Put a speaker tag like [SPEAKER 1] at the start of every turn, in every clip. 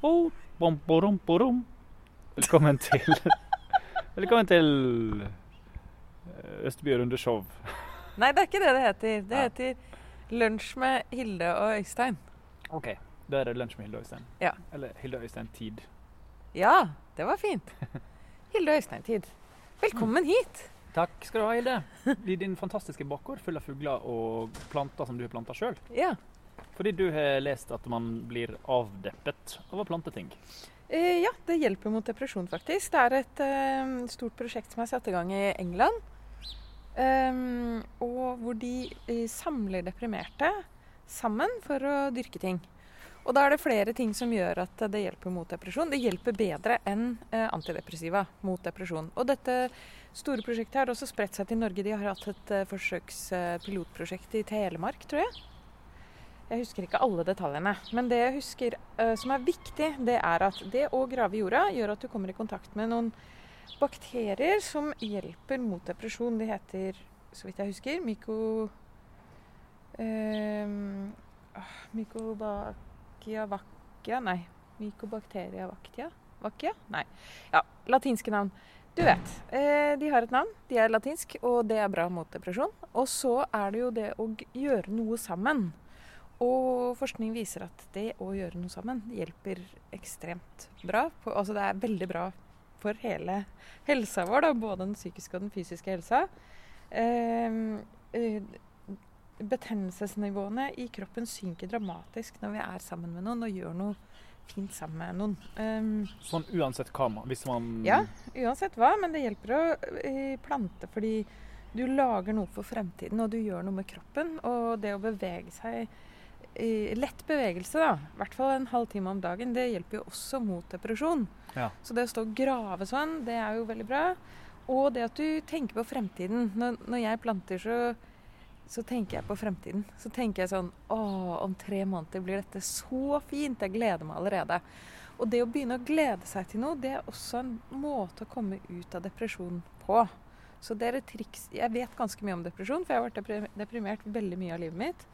[SPEAKER 1] Oh, bom, borom, borom. Velkommen til Velkommen til eh, Østbyrunde show.
[SPEAKER 2] Nei, det er ikke det det heter. Det
[SPEAKER 1] Nei.
[SPEAKER 2] heter Lunsj med Hilde og Øystein.
[SPEAKER 1] OK. Da er det lunsj med Hilde Øystein.
[SPEAKER 2] Ja.
[SPEAKER 1] Eller Hilde Øystein Tid.
[SPEAKER 2] Ja, det var fint. Hilde og Øystein-tid. Velkommen hit.
[SPEAKER 1] Takk skal du ha, Hilde. I din fantastiske bakgård full av fugler og planter som du har planta sjøl.
[SPEAKER 2] Ja.
[SPEAKER 1] Fordi du har lest at man blir avdeppet av å plante ting.
[SPEAKER 2] Eh, ja, det hjelper mot depresjon, faktisk. Det er et eh, stort prosjekt som er satt i gang i England. Ehm, og hvor de eh, samler deprimerte sammen for å dyrke ting. Og da er det flere ting som gjør at det hjelper mot depresjon. Det hjelper bedre enn eh, antidepressiva mot depresjon. Og dette store prosjektet har også spredt seg til Norge. De har hatt et eh, forsøks eh, pilotprosjekt i Telemark, tror jeg. Jeg husker ikke alle detaljene, men det jeg husker eh, som er viktig, det er at det å grave i jorda gjør at du kommer i kontakt med noen bakterier som hjelper mot depresjon. De heter, så vidt jeg husker, myko... ehm, ah, mycobakia vaccia Nei. Mycobacteria vaccia? Vaccia? Nei. Ja, latinske navn. Du vet. Eh, de har et navn. De er latinsk, og det er bra mot depresjon. Og så er det jo det å g- gjøre noe sammen. Og forskning viser at det å gjøre noe sammen hjelper ekstremt bra. På, altså det er veldig bra for hele helsa vår, da, både den psykiske og den fysiske helsa. Ehm, eh, betennelsesnivåene i kroppen synker dramatisk når vi er sammen med noen og gjør noe fint sammen med noen. Ehm,
[SPEAKER 1] Sånn uansett hva man Hvis man
[SPEAKER 2] Ja. uansett hva, men det hjelper å eh, plante fordi du lager noe for fremtiden, og du gjør noe med kroppen. Og det å bevege seg eh, Lett bevegelse, da. I hvert fall en halvtime om dagen. Det hjelper jo også mot depresjon.
[SPEAKER 1] Ja.
[SPEAKER 2] Så det å stå og grave sånn, det er jo veldig bra. Og det at du tenker på fremtiden. Når, når jeg planter, så så tenker jeg på fremtiden. Så tenker jeg sånn Å, om tre måneder blir dette så fint. Jeg gleder meg allerede. Og det å begynne å glede seg til noe, det er også en måte å komme ut av depresjon på. Så det er et triks Jeg vet ganske mye om depresjon, for jeg har vært deprim- deprimert veldig mye av livet mitt.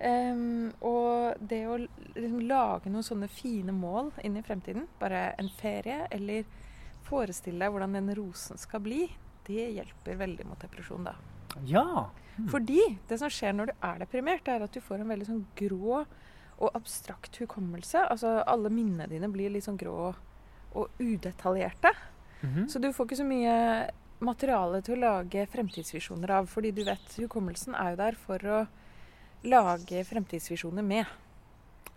[SPEAKER 2] Ehm, og det å l- liksom lage noen sånne fine mål inn i fremtiden, bare en ferie, eller forestille deg hvordan den rosen skal bli, det hjelper veldig mot depresjon, da.
[SPEAKER 1] ja. Mm.
[SPEAKER 2] Fordi det som skjer når du er deprimert, er at du får en veldig sånn grå og abstrakt hukommelse. Altså alle minnene dine blir litt sånn grå og udetaljerte.
[SPEAKER 1] Mhm.
[SPEAKER 2] Så du får ikke så mye materiale til å lage fremtidsvisjoner av. Fordi du vet hukommelsen er jo der for å lage fremtidsvisjoner med.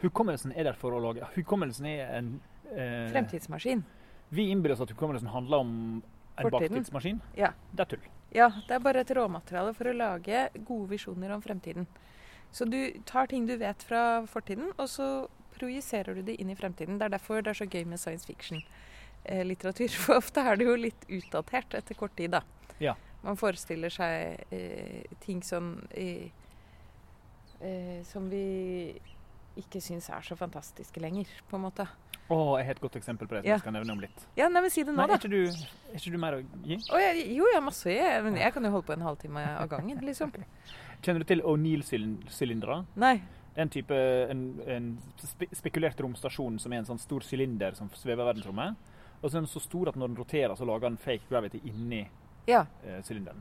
[SPEAKER 1] Hukommelsen er der for å lage Hukommelsen er en eh,
[SPEAKER 2] Fremtidsmaskin.
[SPEAKER 1] Vi innbiller oss at hukommelsen handler om en
[SPEAKER 2] Fortiden.
[SPEAKER 1] baktidsmaskin.
[SPEAKER 2] Ja.
[SPEAKER 1] Det er tull.
[SPEAKER 2] Ja, det er bare et råmateriale for å lage gode visjoner om fremtiden. Så du tar ting du vet fra fortiden, og så projiserer du det inn i fremtiden. Det er derfor det er så gøy med science fiction-litteratur. For ofte er det jo litt utdatert etter kort tid, da.
[SPEAKER 1] Ja.
[SPEAKER 2] Man forestiller seg eh, ting som, eh, eh, som vi ikke syns er så fantastiske lenger, på en måte.
[SPEAKER 1] Å, jeg har et godt eksempel på det som
[SPEAKER 2] Ja.
[SPEAKER 1] jeg skal nevne om litt.
[SPEAKER 2] Ja, nei, men si det nå,
[SPEAKER 1] Nei,
[SPEAKER 2] da.
[SPEAKER 1] er ikke, du, er ikke du mer å gi?
[SPEAKER 2] Å, jeg, jo, jeg har masse å gi. Men jeg kan jo holde på en halvtime av gangen, liksom.
[SPEAKER 1] Kjenner du til O'Neill-sylindere?
[SPEAKER 2] Nei.
[SPEAKER 1] Det er en type en, en spe spekulert romstasjon som er en sånn stor sylinder som svever i verdensrommet. Og så er den så stor at når den roterer, så lager den fake gravity inni
[SPEAKER 2] Ja.
[SPEAKER 1] eh, sylinderen.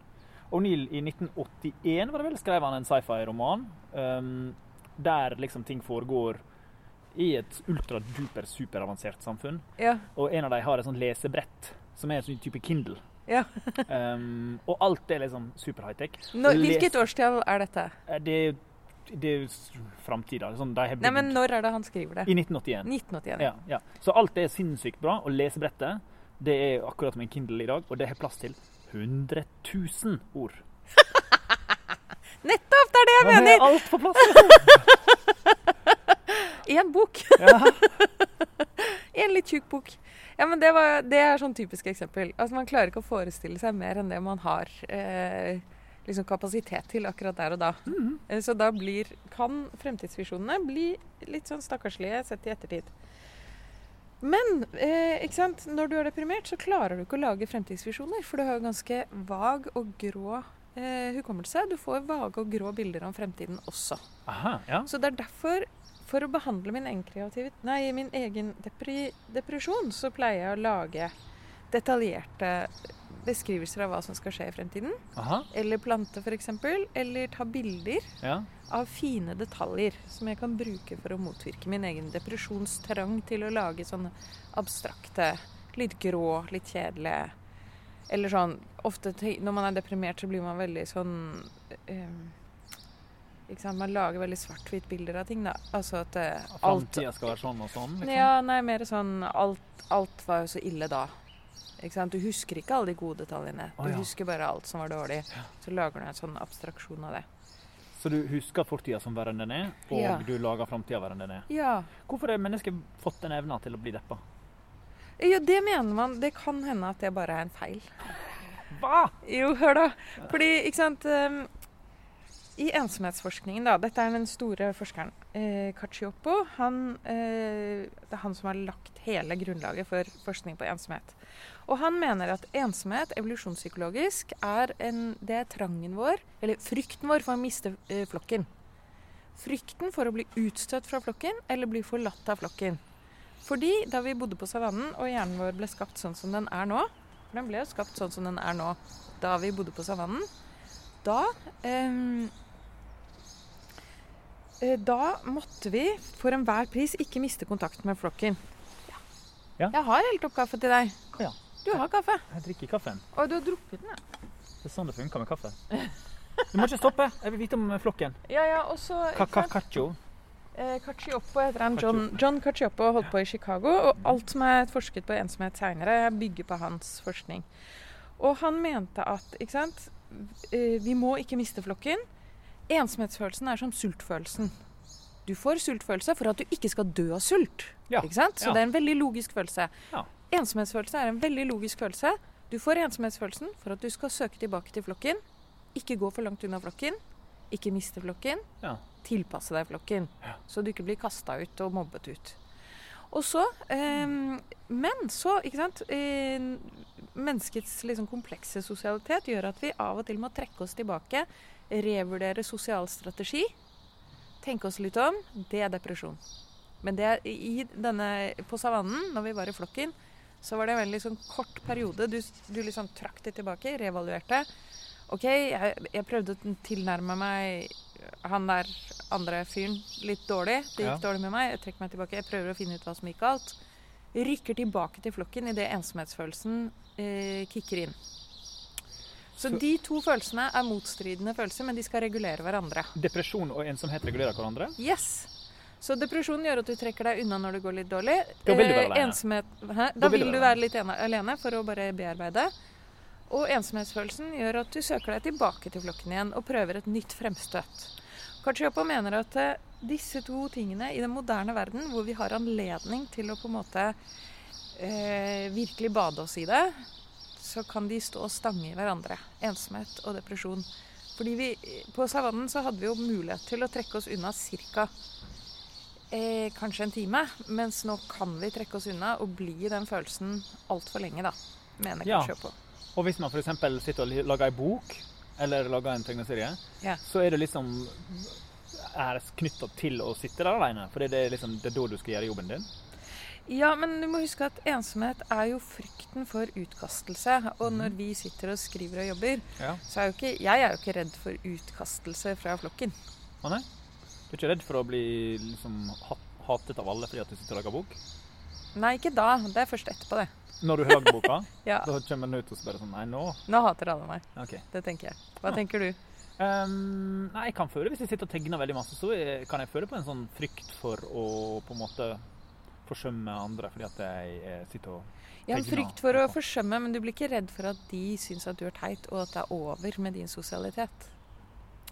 [SPEAKER 1] O'Neill i 1981 var det vel, skrev han en sci-fi-roman ehm, der liksom ting foregår i et ultra-duper-superavansert samfunn.
[SPEAKER 2] Ja.
[SPEAKER 1] Og en av dem har et sånt lesebrett som er en sånn type Kindle.
[SPEAKER 2] Ja.
[SPEAKER 1] Ehm, og alt er liksom super high-tech.
[SPEAKER 2] Nå,
[SPEAKER 1] Les-
[SPEAKER 2] hvilket årstall er dette?
[SPEAKER 1] Eh, Det, det er jo framtida. Sånn, de har
[SPEAKER 2] Nei, men
[SPEAKER 1] bygd
[SPEAKER 2] Når er det han skriver det?
[SPEAKER 1] I 1981.
[SPEAKER 2] 1981.
[SPEAKER 1] Ja, ja. Så alt er sinnssykt bra, og lesebrettet det er akkurat som en Kindle i dag, og det har plass til 100 000 ord.
[SPEAKER 2] Nettopp! Det er det
[SPEAKER 1] Ja,
[SPEAKER 2] jeg
[SPEAKER 1] det er
[SPEAKER 2] mener!
[SPEAKER 1] alt på plass! liksom.
[SPEAKER 2] Én bok.
[SPEAKER 1] Ja.
[SPEAKER 2] Én litt tjukk bok. Ja, men det, var, det er sånn typisk eksempel. Altså, Man klarer ikke å forestille seg mer enn det man har eh, liksom kapasitet til akkurat der og da.
[SPEAKER 1] Mhm.
[SPEAKER 2] Eh, Så da blir, kan fremtidsvisjonene bli litt sånn stakkarslige sett i ettertid. Men eh, ikke sant? når du er deprimert, så klarer du ikke å lage fremtidsvisjoner. For du har jo ganske vag og grå eh, hukommelse. Du får vage og grå bilder om fremtiden også.
[SPEAKER 1] Aha, ja.
[SPEAKER 2] Så det er derfor For å behandle min egen, kreativit- nei, min egen depri, depresjon, så pleier jeg å lage detaljerte beskrivelser av hva som skal skje i fremtiden.
[SPEAKER 1] Aha,
[SPEAKER 2] Eller plante, f.eks. Eller ta bilder
[SPEAKER 1] ja.
[SPEAKER 2] av fine detaljer som jeg kan bruke for å motvirke min egen depresjonstrang til å lage sånne abstrakte, litt grå, litt kjedelige Eller sånn Ofte te- når man er deprimert, så blir man veldig sånn eh, Ikke sant, man lager veldig svart-hvitt-bilder av ting, da. Altså at eh, alt
[SPEAKER 1] Framtida skal være sånn og sånn. Liksom.
[SPEAKER 2] Ja, nei, mer sånn alt, alt var jo så ille da. Ikke sant? Du husker ikke alle de gode detaljene. Du
[SPEAKER 1] Å, ja.
[SPEAKER 2] husker bare alt som var dårlig. Så lager du en sånn abstraksjon av det.
[SPEAKER 1] Så du husker fortida som verre enn den er, og
[SPEAKER 2] Ja.
[SPEAKER 1] du lager framtida verre enn den er.
[SPEAKER 2] Ja,
[SPEAKER 1] Hvorfor har mennesket fått den evna til å bli deppa?
[SPEAKER 2] Ja, det mener man. Det kan hende at det bare er en feil.
[SPEAKER 1] Hva?!
[SPEAKER 2] Jo, hør da. Fordi, ikke sant ehm, I ensomhetsforskningen, da Dette er den store forskeren eh, Cacioppo. Han, eh, det er han som har lagt hele grunnlaget for forskning på ensomhet. Og han mener at ensomhet evolusjonspsykologisk er en Det er trangen vår, eller frykten vår for å miste eh, flokken. Frykten for å bli utstøtt fra flokken eller bli forlatt av flokken. Fordi da vi bodde på savannen og hjernen vår ble skapt sånn som den er nå For den ble jo skapt sånn som den er nå da vi bodde på savannen. Da ehm, eh, Da måtte vi for enhver pris ikke miste kontakten med flokken.
[SPEAKER 1] Ja.
[SPEAKER 2] Jeg har helt opp kaffe til deg.
[SPEAKER 1] Ja.
[SPEAKER 2] Du har kaffe.
[SPEAKER 1] Jeg drikker kaffen.
[SPEAKER 2] Og du har drukket den, ja.
[SPEAKER 1] Det er sånn det funker med kaffe. Du må ikke stoppe! Jeg vil vite om flokken.
[SPEAKER 2] Ja, ja, og så ikke sant?
[SPEAKER 1] Kakakacho.
[SPEAKER 2] Eh, Cacioppo heter han.
[SPEAKER 1] Cacioppo.
[SPEAKER 2] John, John Cacioppo holdt på i Chicago, og alt som er forsket på ensomhet seinere, bygger på hans forskning. Og han mente at ikke sant, eh, vi må ikke miste flokken. Ensomhetsfølelsen er som sultfølelsen. Du får sultfølelse for at du ikke skal dø av sult.
[SPEAKER 1] Ja,
[SPEAKER 2] Ikke sant? Så
[SPEAKER 1] ja.
[SPEAKER 2] det er en veldig logisk følelse.
[SPEAKER 1] Ja.
[SPEAKER 2] Ensomhetsfølelse er en veldig logisk følelse. Du får ensomhetsfølelsen for at du skal søke tilbake til flokken. Ikke gå for langt unna flokken. Ikke miste flokken
[SPEAKER 1] Ja.
[SPEAKER 2] tilpasse deg flokken, så du ikke blir kasta ut og mobbet ut. Og så, ehm, Men så, ikke sant eh, Menneskets liksom komplekse sosialitet gjør at vi av og til må trekke oss tilbake, revurdere sosial strategi, tenke oss litt om. Det er depresjon. Men det er i denne, på savannen, når vi var i flokken, så var det en veldig sånn kort periode. Du, du liksom trakk det tilbake, reevaluerte. OK, jeg, jeg prøvde å tilnærme meg han der andre fyren litt dårlig. Det
[SPEAKER 1] Ja.
[SPEAKER 2] gikk dårlig med meg. Jeg trekker meg tilbake. Jeg prøver å finne ut hva som gikk galt. Rykker tilbake til flokken idet ensomhetsfølelsen eh, kicker inn. Så,
[SPEAKER 1] Så-
[SPEAKER 2] de to følelsene er motstridende følelser, men de skal regulere hverandre.
[SPEAKER 1] Depresjon og ensomhet regulerer hverandre.
[SPEAKER 2] Yes! Så depresjon gjør at du trekker deg unna når det går litt dårlig.
[SPEAKER 1] Da vil du være
[SPEAKER 2] Eh,
[SPEAKER 1] alene.
[SPEAKER 2] Ensomhet, hæ? Da,
[SPEAKER 1] Da
[SPEAKER 2] vil du være litt ene, alene for å bare bearbeide. Og ensomhetsfølelsen gjør at du søker deg tilbake til flokken igjen og prøver et nytt fremstøt. Kachioppo mener at eh, disse to tingene i den moderne verden, hvor vi har anledning til å på en måte eh, virkelig bade oss i det, så kan de stå og stange i hverandre. Ensomhet og depresjon. Fordi vi, På savannen så hadde vi jo mulighet til å trekke oss unna ca. Eh, kanskje en time. Mens nå kan vi trekke oss unna og bli i den følelsen altfor lenge, da. Mener
[SPEAKER 1] Ja.
[SPEAKER 2] kanskje på.
[SPEAKER 1] Og hvis man f.eks. sitter og li- lager ei bok, eller lager en tegneserie,
[SPEAKER 2] Ja.
[SPEAKER 1] så er det liksom er knytta til å sitte der alene. For det er liksom det er da du skal gjøre jobben din.
[SPEAKER 2] Ja, men du må huske at ensomhet er jo frykten for utkastelse. Og når vi sitter og skriver og jobber,
[SPEAKER 1] Mm. Ja.
[SPEAKER 2] så er jo ikke Jeg er jo ikke redd for utkastelse fra flokken.
[SPEAKER 1] Å nei? Du er ikke redd for å bli liksom hat- hatet av alle fordi at du sitter og lager bok?
[SPEAKER 2] Nei, ikke da. Det er først etterpå, det.
[SPEAKER 1] Når du har lagd boka,
[SPEAKER 2] Ja.
[SPEAKER 1] da kommer den ut og så bare sånn Nei, nå?
[SPEAKER 2] Nå hater alle meg.
[SPEAKER 1] OK.
[SPEAKER 2] Det tenker jeg. Hva
[SPEAKER 1] Ja.
[SPEAKER 2] tenker du?
[SPEAKER 1] Ehm, nei, jeg kan føle Hvis jeg sitter og tegner veldig masse, så er- kan jeg føle på en sånn frykt for å på en måte forsømme andre fordi at jeg eh, sitter og
[SPEAKER 2] Jeg har
[SPEAKER 1] Tegner.
[SPEAKER 2] frykt for å forsømme, men du blir ikke redd for at de syns at du er teit, og at det er over med din sosialitet.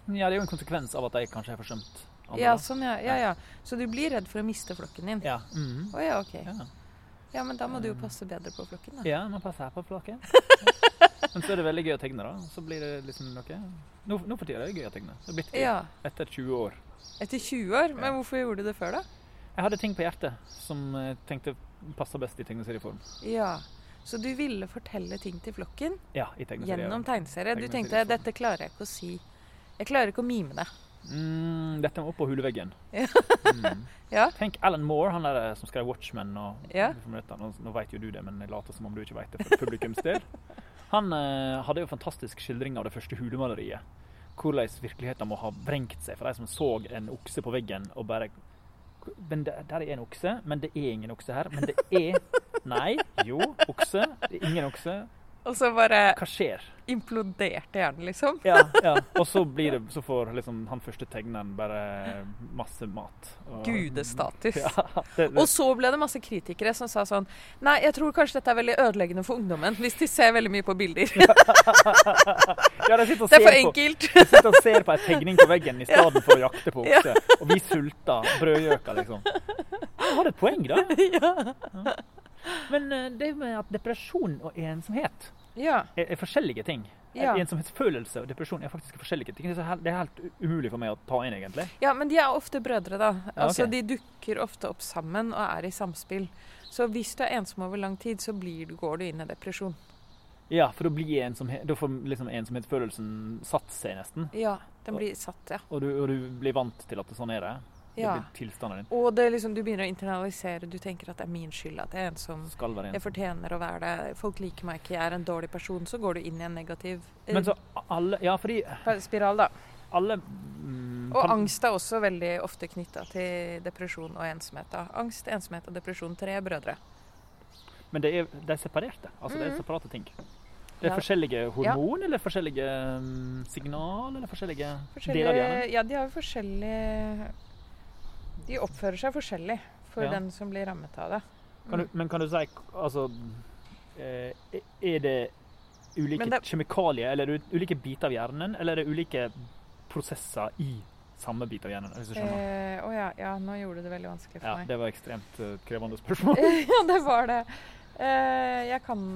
[SPEAKER 1] Ja, det er jo en konsekvens av at jeg kanskje har forsømt andre.
[SPEAKER 2] Ja, sånn, ja. ja, ja. Så du blir redd for å miste flokken din. Å
[SPEAKER 1] Ja. mhm.
[SPEAKER 2] ja, ok.
[SPEAKER 1] ja. Eh,
[SPEAKER 2] Ja, men da må du jo passe bedre på flokken, da.
[SPEAKER 1] ja nå passer jeg på flaket. Men så er det veldig gøy å tegne, da. Så blir det liksom noe Nå, nå for tida er det gøy å tegne. Det er blitt gøy.
[SPEAKER 2] Ja.
[SPEAKER 1] Etter 20 år.
[SPEAKER 2] Etter 20 år. Men hvorfor gjorde du det før, da?
[SPEAKER 1] Jeg hadde ting på hjertet som jeg tenkte passer best i tegneserieform.
[SPEAKER 2] Ja. Så du ville fortelle ting til flokken
[SPEAKER 1] Ja, i tegneserie.
[SPEAKER 2] gjennom tegneserie. Du
[SPEAKER 1] Tegneserie
[SPEAKER 2] tenkte
[SPEAKER 1] form.
[SPEAKER 2] dette klarer jeg ikke å si. Jeg klarer ikke å mime det.
[SPEAKER 1] Mm, dette må opp på huleveggen.
[SPEAKER 2] Ja.
[SPEAKER 1] Mm.
[SPEAKER 2] Ja.
[SPEAKER 1] Tenk Alan Moore, han der eh, som skrev 'Watchmen'. Og,
[SPEAKER 2] Ja.
[SPEAKER 1] for minutter. Nå, nå vet jo du det, men jeg later som om du ikke vet det for publikums del. Han eh, hadde jo fantastisk skildring av det første hulemaleriet. Hvordan virkeligheten må ha vrengt seg for de som så en okse på veggen og bare men det, Der er en okse, men det er ingen okse her. Men det er Nei, jo, okse. Det er ingen okse.
[SPEAKER 2] Og så bare
[SPEAKER 1] Hva skjer?
[SPEAKER 2] imploderte hjernen, liksom.
[SPEAKER 1] Ja, ja. Og så, blir det, så får liksom han første tegneren bare masse mat. og-
[SPEAKER 2] Gudestatus.
[SPEAKER 1] Ja, det, det,
[SPEAKER 2] Og så ble det masse kritikere som sa sånn Nei, jeg tror kanskje dette er veldig ødeleggende for ungdommen hvis de ser veldig mye på bilder.
[SPEAKER 1] ja, de sitter og
[SPEAKER 2] Det er for
[SPEAKER 1] ser på,
[SPEAKER 2] enkelt.
[SPEAKER 1] de sitter og ser på ei tegning på veggen i stedet for å jakte på
[SPEAKER 2] Ja.
[SPEAKER 1] okse. Og vi sulter brødgjøker, liksom. Jeg har et poeng, da.
[SPEAKER 2] ja.
[SPEAKER 1] Men eh, det med at depresjon og ensomhet
[SPEAKER 2] Ja.
[SPEAKER 1] er, er forskjellige ting. Eh,
[SPEAKER 2] Ja.
[SPEAKER 1] Ensomhetsfølelse og depresjon er faktisk forskjellige ting. Det er, helt, det er helt umulig for meg å ta inn, egentlig.
[SPEAKER 2] ja, men de er ofte brødre, da.
[SPEAKER 1] Ja,
[SPEAKER 2] Altså,
[SPEAKER 1] ok.
[SPEAKER 2] De dukker ofte opp sammen og er i samspill. Så hvis du er ensom over lang tid, så blir du, går du inn i depresjon.
[SPEAKER 1] Ja, for da blir ensomhet, da får liksom ensomhetsfølelsen satt seg, nesten.
[SPEAKER 2] Ja, den blir satt, ja.
[SPEAKER 1] Og du, og du blir vant til at det sånn er det. Det
[SPEAKER 2] ja.
[SPEAKER 1] blir tilstanden din.
[SPEAKER 2] Og det er liksom, du begynner å internalisere. Du tenker at det er min skyld at jeg er ensom.
[SPEAKER 1] Skal være
[SPEAKER 2] Jeg
[SPEAKER 1] ensom.
[SPEAKER 2] fortjener å være det. Folk liker meg ikke. Jeg er en dårlig person. Så går du inn i en negativ eh,
[SPEAKER 1] Men så alle Ja, fordi
[SPEAKER 2] spiral, da.
[SPEAKER 1] alle mm,
[SPEAKER 2] Og
[SPEAKER 1] pan-
[SPEAKER 2] angst er også veldig ofte knytta til depresjon og ensomhet. Da. Angst, ensomhet og depresjon. Tre brødre.
[SPEAKER 1] Men det er, det er separerte. Altså det er
[SPEAKER 2] Mhm.
[SPEAKER 1] separate ting. Det er
[SPEAKER 2] Ja.
[SPEAKER 1] forskjellige hormon, eller forskjellige mm, signal, eller forskjellige, deler av hjernen.
[SPEAKER 2] Forskjellige, ja, de har jo forskjellig De oppfører seg forskjellig for
[SPEAKER 1] Ja.
[SPEAKER 2] den som blir rammet av det.
[SPEAKER 1] Kan du, men kan du si Altså eh, Er det ulike
[SPEAKER 2] Men det-
[SPEAKER 1] kjemikalier, eller er det ulike biter av hjernen, eller er det ulike prosesser i samme bit av hjernen? Hvis du
[SPEAKER 2] Å
[SPEAKER 1] skjønner.
[SPEAKER 2] eh, å ja, ja, nå gjorde du det veldig vanskelig for
[SPEAKER 1] Ja,
[SPEAKER 2] meg.
[SPEAKER 1] det var ekstremt eh, krevende spørsmål.
[SPEAKER 2] ja, det var det. Eh, jeg kan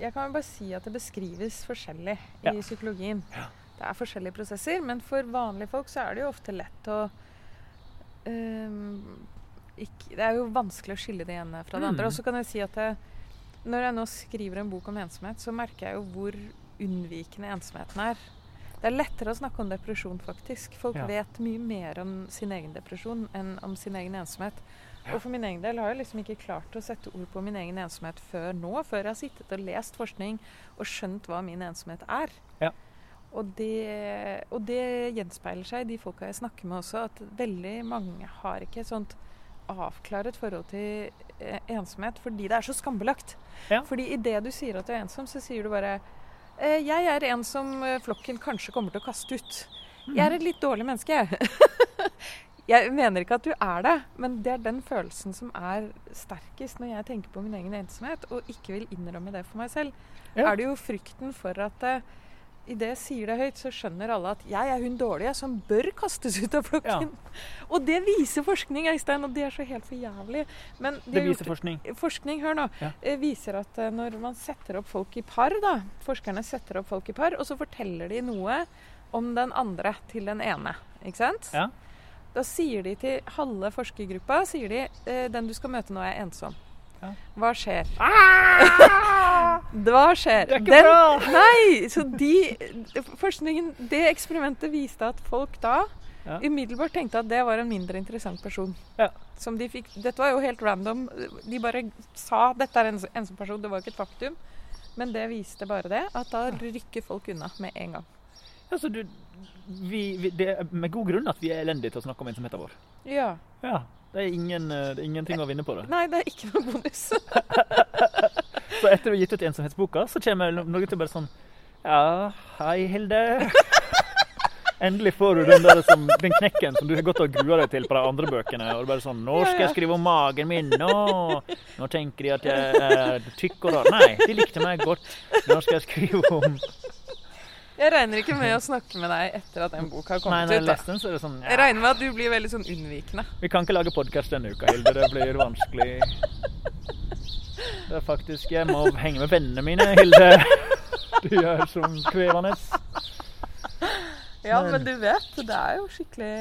[SPEAKER 2] Jeg kan jo bare si at det beskrives forskjellig
[SPEAKER 1] Ja.
[SPEAKER 2] i psykologien. Det er forskjellige prosesser, men for vanlige folk så er det jo ofte lett å ehm, ikke, Det er jo vanskelig å skille det ene fra det
[SPEAKER 1] Mm.
[SPEAKER 2] andre. Og så kan jeg si at jeg, når jeg nå skriver en bok om ensomhet, så merker jeg jo hvor unnvikende ensomheten er. Det er lettere å snakke om depresjon, faktisk. Folk
[SPEAKER 1] Ja.
[SPEAKER 2] vet mye mer om sin egen depresjon enn om sin egen ensomhet. Og for min egen del har jeg liksom ikke klart å sette ord på min egen ensomhet før nå, før jeg har sittet og lest forskning og skjønt hva min ensomhet er.
[SPEAKER 1] Ja.
[SPEAKER 2] Og, det, og det gjenspeiler seg i de folka jeg snakker med også, at veldig mange har ikke et sånt avklaret forhold til eh, ensomhet fordi det er så skambelagt.
[SPEAKER 1] Ja.
[SPEAKER 2] Fordi idet du sier at du er ensom, så sier du bare eh, Jeg er en som eh, flokken kanskje kommer til å kaste ut.
[SPEAKER 1] Mhm.
[SPEAKER 2] Jeg er et litt dårlig menneske, jeg. Jeg mener ikke at du er det, men det er den følelsen som er sterkest når jeg tenker på min egen ensomhet og ikke vil innrømme det for meg selv.
[SPEAKER 1] Ja.
[SPEAKER 2] Er det jo frykten for at eh, i idet jeg sier det høyt, så skjønner alle at jeg er hun dårlige som bør kastes ut av flokken. Og det viser forskning, Øystein, og det er så helt for jævlig. Men de
[SPEAKER 1] Det
[SPEAKER 2] har gjort
[SPEAKER 1] viser forskning.
[SPEAKER 2] forskning hør nå,
[SPEAKER 1] Ja.
[SPEAKER 2] eh, viser at eh, når man setter opp folk i par, da, forskerne setter opp folk i par, og så forteller de noe om den andre til den ene. Ikke sant?
[SPEAKER 1] Ja.
[SPEAKER 2] Da sier de til halve forskergruppa sier de, eh, den du skal møte nå, er ensom.
[SPEAKER 1] Ja. Ah!
[SPEAKER 2] Hva skjer? Hva skjer?
[SPEAKER 1] Det er ikke
[SPEAKER 2] Den-
[SPEAKER 1] bra!
[SPEAKER 2] Nei! Så de Forskningen Det eksperimentet viste at folk da
[SPEAKER 1] Ja.
[SPEAKER 2] umiddelbart tenkte at det var en mindre interessant person.
[SPEAKER 1] Ja.
[SPEAKER 2] Som de fikk Dette var jo helt random. De bare sa 'dette er en ensom person'. Det var jo ikke et faktum. Men det viste bare det, at da rykker folk unna med en gang.
[SPEAKER 1] Altså, du, vi, vi, det er med god grunn at vi er elendige til å snakke om ensomheten vår.
[SPEAKER 2] Ja.
[SPEAKER 1] Ja. Det er, ingen, eh, det er ingenting å vinne på det.
[SPEAKER 2] Nei, det er ikke noe bonus.
[SPEAKER 1] Så etter du har gitt ut ensomhetsboka, så kommer noen til å bare sånn Ja, hei, Hilde. Endelig får du den, der som, den knekken som du har gått og grua deg til på de andre bøkene. Og du bare sånn Nå skal jeg skrive om magen min, nå! Nå tenker de at jeg er tykk og rar. Nei, de likte meg godt. Nå skal jeg skrive om
[SPEAKER 2] Jeg regner ikke med å snakke med deg etter at den boka har
[SPEAKER 1] Nei,
[SPEAKER 2] kommet
[SPEAKER 1] når jeg
[SPEAKER 2] ut. jeg.
[SPEAKER 1] leste den, så er det sånn
[SPEAKER 2] Jeg
[SPEAKER 1] ja,
[SPEAKER 2] regner med at du blir veldig sånn unnvikende.
[SPEAKER 1] Vi kan ikke lage podkast denne uka, Hilde. Det blir vanskelig. Det er faktisk Jeg må henge med vennene mine, Hilde. Du er som krevende.
[SPEAKER 2] Ja,
[SPEAKER 1] Men-
[SPEAKER 2] men du vet, det er jo skikkelig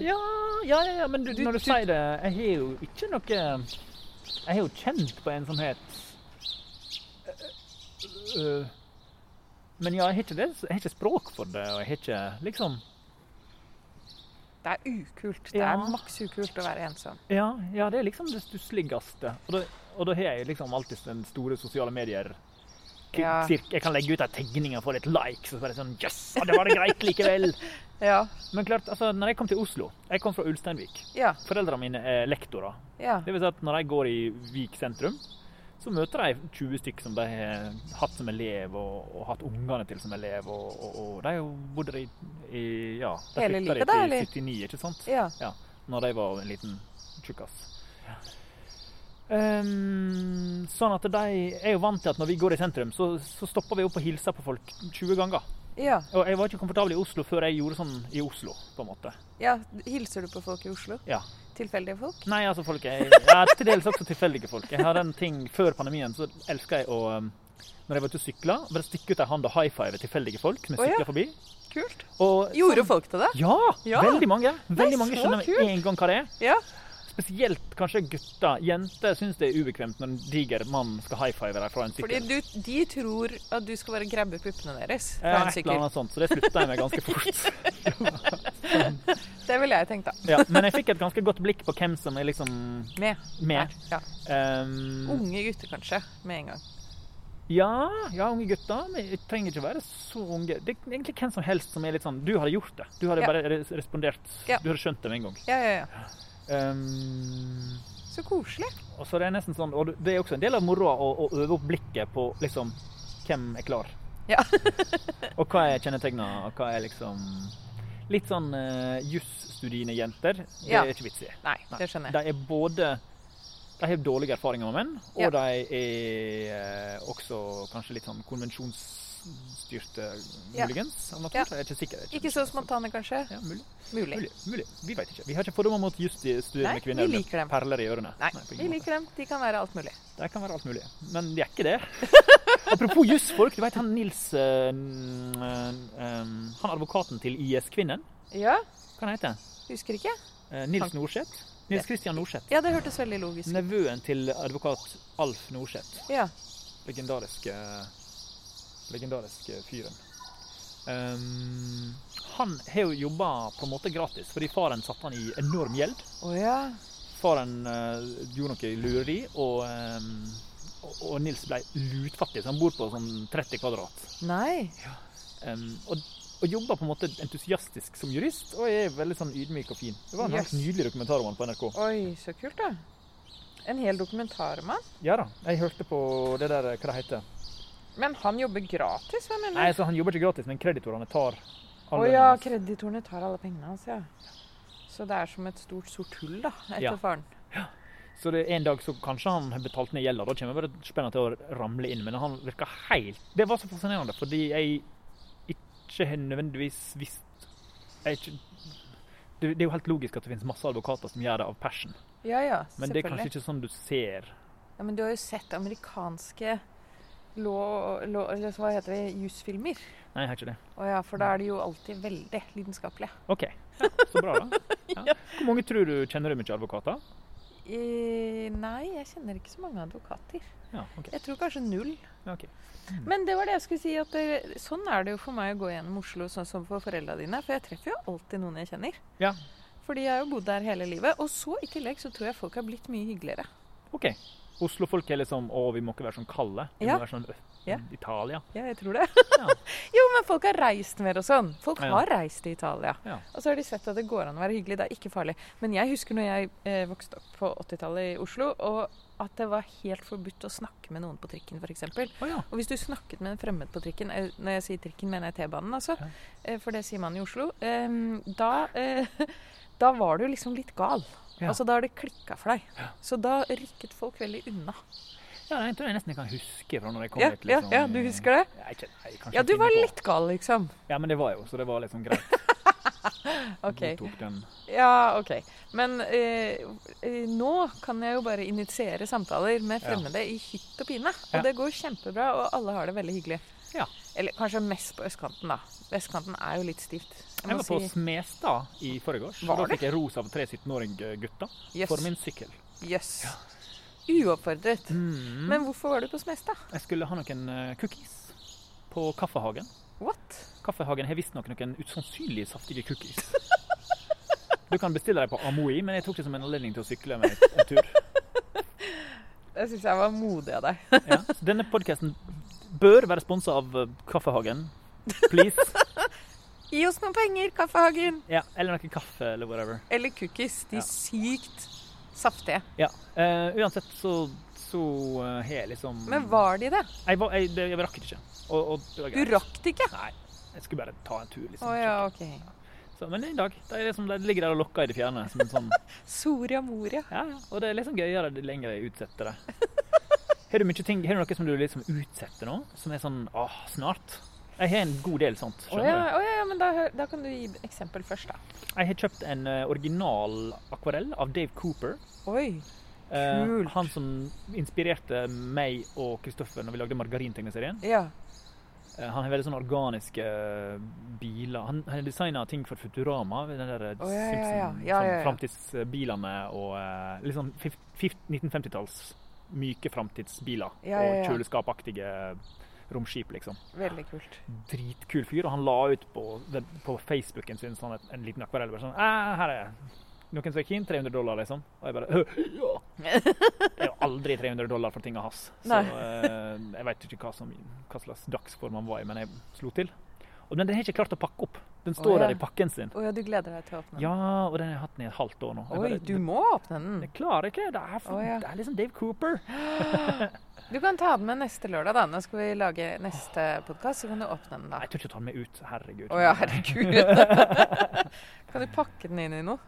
[SPEAKER 1] Ja, ja, ja, ja, men du,
[SPEAKER 2] Du-
[SPEAKER 1] når du,
[SPEAKER 2] du-
[SPEAKER 1] sier det Jeg har jo ikke noe Jeg har jo kjent på ensomhet. Øh, øh, Men ja, jeg har ikke det. Jeg har ikke språk for det, og jeg har ikke liksom
[SPEAKER 2] Det er ukult. Det
[SPEAKER 1] Ja.
[SPEAKER 2] er maks ukult å være ensom.
[SPEAKER 1] Ja, ja, det er liksom det stussligste. Og da, og da har jeg liksom alltid den store sosiale medier K-
[SPEAKER 2] Ja.
[SPEAKER 1] sirk- Jeg kan legge ut ei tegning og få litt likes, og så er det sånn Jøss, yes, det var det greit likevel!
[SPEAKER 2] Ja.
[SPEAKER 1] Men klart, altså, når jeg kom til Oslo Jeg kom fra Ulsteinvik.
[SPEAKER 2] Ja.
[SPEAKER 1] Foreldrene mine er lektorer.
[SPEAKER 2] Ja.
[SPEAKER 1] Det vil si at når jeg går i Vik sentrum, så møter jeg 20 stykk som de har hatt som elev, og, og hatt ungene til som elev, og, og, og de har jo bodd der i, i ja, de
[SPEAKER 2] Hele
[SPEAKER 1] flytta
[SPEAKER 2] livet
[SPEAKER 1] dit
[SPEAKER 2] da, eller?
[SPEAKER 1] i 79, ikke sant?
[SPEAKER 2] ja.
[SPEAKER 1] Ja, når de var en liten tjukkas. Ehm, sånn at de er jo vant til at når vi går i sentrum, så, så stopper vi opp og hilser på folk 20 ganger.
[SPEAKER 2] ja.
[SPEAKER 1] Og jeg var ikke komfortabel i Oslo før jeg gjorde sånn i Oslo, på en måte.
[SPEAKER 2] ja. Hilser du på folk i Oslo?
[SPEAKER 1] Ja.
[SPEAKER 2] Tilfeldige folk?
[SPEAKER 1] Nei, altså folk er ja, til dels også tilfeldige folk. Jeg hadde en ting før pandemien, så elska jeg å um, Når jeg var ute og sykla, bare stikke ut ei hand og high five tilfeldige folk som jeg
[SPEAKER 2] Å, ja.
[SPEAKER 1] sykla forbi.
[SPEAKER 2] Kult. Sånn.
[SPEAKER 1] Og,
[SPEAKER 2] Gjorde folk til det?
[SPEAKER 1] ja,
[SPEAKER 2] Ja.
[SPEAKER 1] Veldig mange. Veldig mange
[SPEAKER 2] så
[SPEAKER 1] skjønner
[SPEAKER 2] kult.
[SPEAKER 1] med en gang hva det er.
[SPEAKER 2] Ja.
[SPEAKER 1] Spesielt kanskje gutter. Jenter syns det er ubekvemt når en diger mann skal high five deg fra en
[SPEAKER 2] Fordi
[SPEAKER 1] sykkel.
[SPEAKER 2] du, de tror at du skal bare grabbe puppene deres
[SPEAKER 1] Ja,
[SPEAKER 2] fra en
[SPEAKER 1] et eller
[SPEAKER 2] sykkel.
[SPEAKER 1] annet sånt, så det slutta jeg med ganske fort.
[SPEAKER 2] Det ville jeg tenkt, da.
[SPEAKER 1] Ja, men jeg fikk et ganske godt blikk på hvem som er liksom
[SPEAKER 2] Med.
[SPEAKER 1] med.
[SPEAKER 2] Ja. Oh.
[SPEAKER 1] Um,
[SPEAKER 2] Unge gutter, kanskje, med en gang.
[SPEAKER 1] Ja, ja, unge gutter. Men jeg trenger ikke være så unge. Det er egentlig hvem som helst som er litt sånn Du hadde gjort det. Du hadde
[SPEAKER 2] Ja.
[SPEAKER 1] bare res- respondert.
[SPEAKER 2] Ja.
[SPEAKER 1] Du hadde skjønt det med en gang.
[SPEAKER 2] Ja, ja, ja.
[SPEAKER 1] Ehm,
[SPEAKER 2] Så koselig.
[SPEAKER 1] og så er det nesten sånn Og det er også en del av moroa å, å øve opp blikket på liksom hvem er klar.
[SPEAKER 2] Ja.
[SPEAKER 1] og hva er kjennetegna, og hva er liksom Litt sånn uh, jusstudiene jenter, det
[SPEAKER 2] Ja.
[SPEAKER 1] er ikke vits i.
[SPEAKER 2] Nei,
[SPEAKER 1] Nei.
[SPEAKER 2] det skjønner jeg.
[SPEAKER 1] De er både De har dårlige erfaringer med menn, og
[SPEAKER 2] Ja.
[SPEAKER 1] de er eh, også kanskje litt sånn konvensjonsstyrte,
[SPEAKER 2] Ja.
[SPEAKER 1] muligens. Av natur.
[SPEAKER 2] Ja.
[SPEAKER 1] Jeg er ikke sikker. Jeg er
[SPEAKER 2] Ikke så spontane, kanskje.
[SPEAKER 1] Ja, mulig.
[SPEAKER 2] Mulig.
[SPEAKER 1] mulig. mulig. Vi vet ikke. Vi har ikke fordommer mot jusstuderende
[SPEAKER 2] Nei,
[SPEAKER 1] kvinner
[SPEAKER 2] vi
[SPEAKER 1] med
[SPEAKER 2] liker dem.
[SPEAKER 1] perler i ørene.
[SPEAKER 2] Nei,
[SPEAKER 1] på
[SPEAKER 2] vi
[SPEAKER 1] ingen måte.
[SPEAKER 2] liker dem. De kan være alt mulig.
[SPEAKER 1] Det kan være alt mulig. Men de er ikke det. Apropos jussfolk. Du vet han Nils eh, n- eh, eh, Han advokaten til IS-kvinnen.
[SPEAKER 2] Ja,
[SPEAKER 1] Hva heter han?
[SPEAKER 2] husker ikke.
[SPEAKER 1] Eh, Nils Norseth? Nils Christian Norseth.
[SPEAKER 2] Ja, det hørtes veldig logisk ut.
[SPEAKER 1] Nevøen til advokat Alf Norseth.
[SPEAKER 2] Ja.
[SPEAKER 1] legendariske legendariske fyren. Ehm, han har jo jobba på en måte gratis, fordi faren satte han i enorm gjeld.
[SPEAKER 2] Å ja.
[SPEAKER 1] Faren eh, gjorde noe lureri, og, ehm, og, og Nils ble lutfattig, så han bor på sånn 30 kvadrat.
[SPEAKER 2] Nei.
[SPEAKER 1] Ehm, og, og jobba på en måte entusiastisk som jurist, og er veldig sånn ydmyk og fin. Det var en helt
[SPEAKER 2] Yes.
[SPEAKER 1] nydelig dokumentar om han på NRK.
[SPEAKER 2] Oi, så kult, da. En hel dokumentar om han.
[SPEAKER 1] Ja da, jeg hørte på det der, eh, hva det heter.
[SPEAKER 2] Men han jobber gratis, hva
[SPEAKER 1] Nei,
[SPEAKER 2] mener du?
[SPEAKER 1] altså han jobber ikke gratis, men kreditorene tar
[SPEAKER 2] Å
[SPEAKER 1] all lønnen
[SPEAKER 2] ja,
[SPEAKER 1] hans.
[SPEAKER 2] kreditorene tar alle pengene hans, ja. Så det er som et stort sort hull, da, etter
[SPEAKER 1] Ja.
[SPEAKER 2] faren.
[SPEAKER 1] Så det er en dag så kanskje han har betalt ned gjelda. Da kommer jeg bare spennende til å ramle inn. Men han virker helt Det var så fascinerende, fordi jeg ikke har nødvendigvis visst jeg ikke, det, det er jo helt logisk at det finnes masse advokater som gjør det av passion,
[SPEAKER 2] Ja ja,
[SPEAKER 1] men det er kanskje
[SPEAKER 2] selvfølgelig.
[SPEAKER 1] ikke sånn du ser
[SPEAKER 2] Ja, men du har jo sett amerikanske lå- lå- eller hva heter det, jusfilmer.
[SPEAKER 1] Nei, jeg har ikke det.
[SPEAKER 2] Å ja, for da er de jo alltid veldig lidenskapelige.
[SPEAKER 1] OK. Ja, så bra, da. Ja. Hvor mange tror du kjenner du mye advokater?
[SPEAKER 2] Eh, nei, jeg kjenner ikke så mange advokater.
[SPEAKER 1] Ja, OK.
[SPEAKER 2] Jeg tror kanskje null.
[SPEAKER 1] Ja, ok.
[SPEAKER 2] Men det var det jeg skulle si. At det, sånn er det jo for meg å gå gjennom Oslo, sånn som for foreldra dine. For jeg treffer jo alltid noen jeg kjenner.
[SPEAKER 1] Ja.
[SPEAKER 2] Fordi jeg har jo bodd der hele livet. Og så i tillegg så tror jeg folk har blitt mye hyggeligere.
[SPEAKER 1] ok. Oslofolk er liksom Å, vi må ikke være sånn kalde. Vi
[SPEAKER 2] Ja.
[SPEAKER 1] må være sånn øh,
[SPEAKER 2] Ja.
[SPEAKER 1] Italia.
[SPEAKER 2] Ja, jeg tror det.
[SPEAKER 1] Ja.
[SPEAKER 2] jo, men folk har reist mer og sånn. Folk
[SPEAKER 1] Ja.
[SPEAKER 2] har reist til Italia.
[SPEAKER 1] Ja.
[SPEAKER 2] Og så har de sett at det går an å være hyggelig. Det er ikke farlig. Men jeg husker når jeg eh, vokste opp på 80-tallet i Oslo, og at det var helt forbudt å snakke med noen på trikken, f.eks.
[SPEAKER 1] Å ja.
[SPEAKER 2] Og hvis du snakket med en fremmed på trikken eh, Når jeg sier trikken, mener jeg T-banen, altså.
[SPEAKER 1] Ja.
[SPEAKER 2] eh, For det sier man i Oslo. ehm, Da, eh, da var du liksom litt gal.
[SPEAKER 1] Ja.
[SPEAKER 2] Altså Da har det klikka for deg. Så da rykket folk veldig unna.
[SPEAKER 1] Ja, jeg tror jeg nesten jeg kan huske fra når jeg kom
[SPEAKER 2] Ja,
[SPEAKER 1] hit. liksom.
[SPEAKER 2] ja, ja, du husker det?
[SPEAKER 1] Nei, ikke, nei, kanskje
[SPEAKER 2] Ja,
[SPEAKER 1] jeg
[SPEAKER 2] du var
[SPEAKER 1] finner på.
[SPEAKER 2] litt gal, liksom.
[SPEAKER 1] Ja, men det var jeg jo, så det var liksom greit.
[SPEAKER 2] Ok.
[SPEAKER 1] Godtok den.
[SPEAKER 2] Ja, ok. Men eh, eh, nå kan jeg jo bare initiere samtaler med fremmede i hytt og pine. Og
[SPEAKER 1] Ja.
[SPEAKER 2] det går kjempebra, og alle har det veldig hyggelig.
[SPEAKER 1] Ja.
[SPEAKER 2] Eller kanskje mest på østkanten, da. Vestkanten er jo litt stivt.
[SPEAKER 1] Jeg var på Smestad i forgårs.
[SPEAKER 2] Var
[SPEAKER 1] Da
[SPEAKER 2] det?
[SPEAKER 1] fikk jeg ros av tre 17-åring-gutter
[SPEAKER 2] Jøss.
[SPEAKER 1] for min sykkel.
[SPEAKER 2] Jøss. Uoppfordret.
[SPEAKER 1] Mm.
[SPEAKER 2] Men hvorfor var du på Smestad?
[SPEAKER 1] Jeg skulle ha noen eh, cookies på Kaffehagen.
[SPEAKER 2] What?
[SPEAKER 1] Kaffehagen har visstnok noen usannsynlig saftige cookies. Du kan bestille deg på Amoi, men jeg tok det som en anledning til å sykle med en tur.
[SPEAKER 2] Det syns jeg var modig av deg.
[SPEAKER 1] Ja. Så Denne podkasten bør være sponsa av eh, Kaffehagen. Please.
[SPEAKER 2] Gi oss noen penger, Kaffehagen!
[SPEAKER 1] Ja, eller noe kaffe eller whatever.
[SPEAKER 2] Eller cookies. De
[SPEAKER 1] Ja.
[SPEAKER 2] sykt saftige.
[SPEAKER 1] Ja. Eh, uansett så, så eh, har jeg liksom
[SPEAKER 2] Men var de det?
[SPEAKER 1] Jeg, var, jeg, det- jeg rakk det ikke. Og, og det var
[SPEAKER 2] Du
[SPEAKER 1] greit.
[SPEAKER 2] rakk det ikke?
[SPEAKER 1] Nei. Jeg skulle bare ta en tur, liksom.
[SPEAKER 2] Å ja, OK.
[SPEAKER 1] så, men i dag det er liksom, det ligger der og lokker i det fjerne. Som en sånn,
[SPEAKER 2] Soria Moria.
[SPEAKER 1] ja, ja. Og det er liksom gøyere det lenger jeg utsetter det. Har du, mye ting, har du noe som du liksom utsetter nå? Som er sånn åh, snart? Jeg har en god del sånt.
[SPEAKER 2] Å
[SPEAKER 1] skjønner
[SPEAKER 2] ja,
[SPEAKER 1] du?
[SPEAKER 2] å ja, ja, men da, hø- da kan du gi eksempel først, da.
[SPEAKER 1] Jeg har kjøpt en eh, original akvarell av Dave Cooper.
[SPEAKER 2] Oi.
[SPEAKER 1] Eh,
[SPEAKER 2] Kult.
[SPEAKER 1] han som inspirerte meg og Kristoffer når vi lagde Margarintegneserien.
[SPEAKER 2] Ja.
[SPEAKER 1] Eh, han har veldig sånne organiske eh, biler. Han har designa ting for Futurama. Den der eh,
[SPEAKER 2] Å, ja, ja,
[SPEAKER 1] Simpson,
[SPEAKER 2] ja. Ja, ja, ja.
[SPEAKER 1] sånn framtidsbilene og eh, litt sånn fif- fif- 1950-talls myke framtidsbiler.
[SPEAKER 2] Ja, ja, ja.
[SPEAKER 1] Og kjøleskapaktige romskip, liksom.
[SPEAKER 2] Veldig kult.
[SPEAKER 1] Dritkul fyr. Og han la ut på, den- på Facebooken sin sånn et, en liten akvarell. Bare sånn «Ah, Her er jeg. Noen som er keen? 300 dollar, liksom. Og jeg bare «Hø, ja. Det er jo aldri 300 dollar for tinga hans. Så
[SPEAKER 2] Nei.
[SPEAKER 1] eh, jeg veit ikke hva, som, hva slags dagsform han var i, men jeg slo til. Og den, den har jeg ikke klart å pakke opp. Den står
[SPEAKER 2] Å, ja.
[SPEAKER 1] der i pakken sin.
[SPEAKER 2] Å ja, du gleder deg til å åpne den?
[SPEAKER 1] Ja, og den har jeg hatt den i et halvt år nå. Jeg
[SPEAKER 2] Oi,
[SPEAKER 1] bare,
[SPEAKER 2] du må åpne den.
[SPEAKER 1] Jeg klarer ikke. Det er, for,
[SPEAKER 2] Å, ja.
[SPEAKER 1] det er liksom Dave Cooper.
[SPEAKER 2] Du kan ta den med neste lørdag, da. Nå skal vi lage neste podkast, så kan du åpne den da.
[SPEAKER 1] Nei, jeg tør ikke å ta den med ut. Herregud.
[SPEAKER 2] Å ja, herregud. kan du pakke den inn i noe?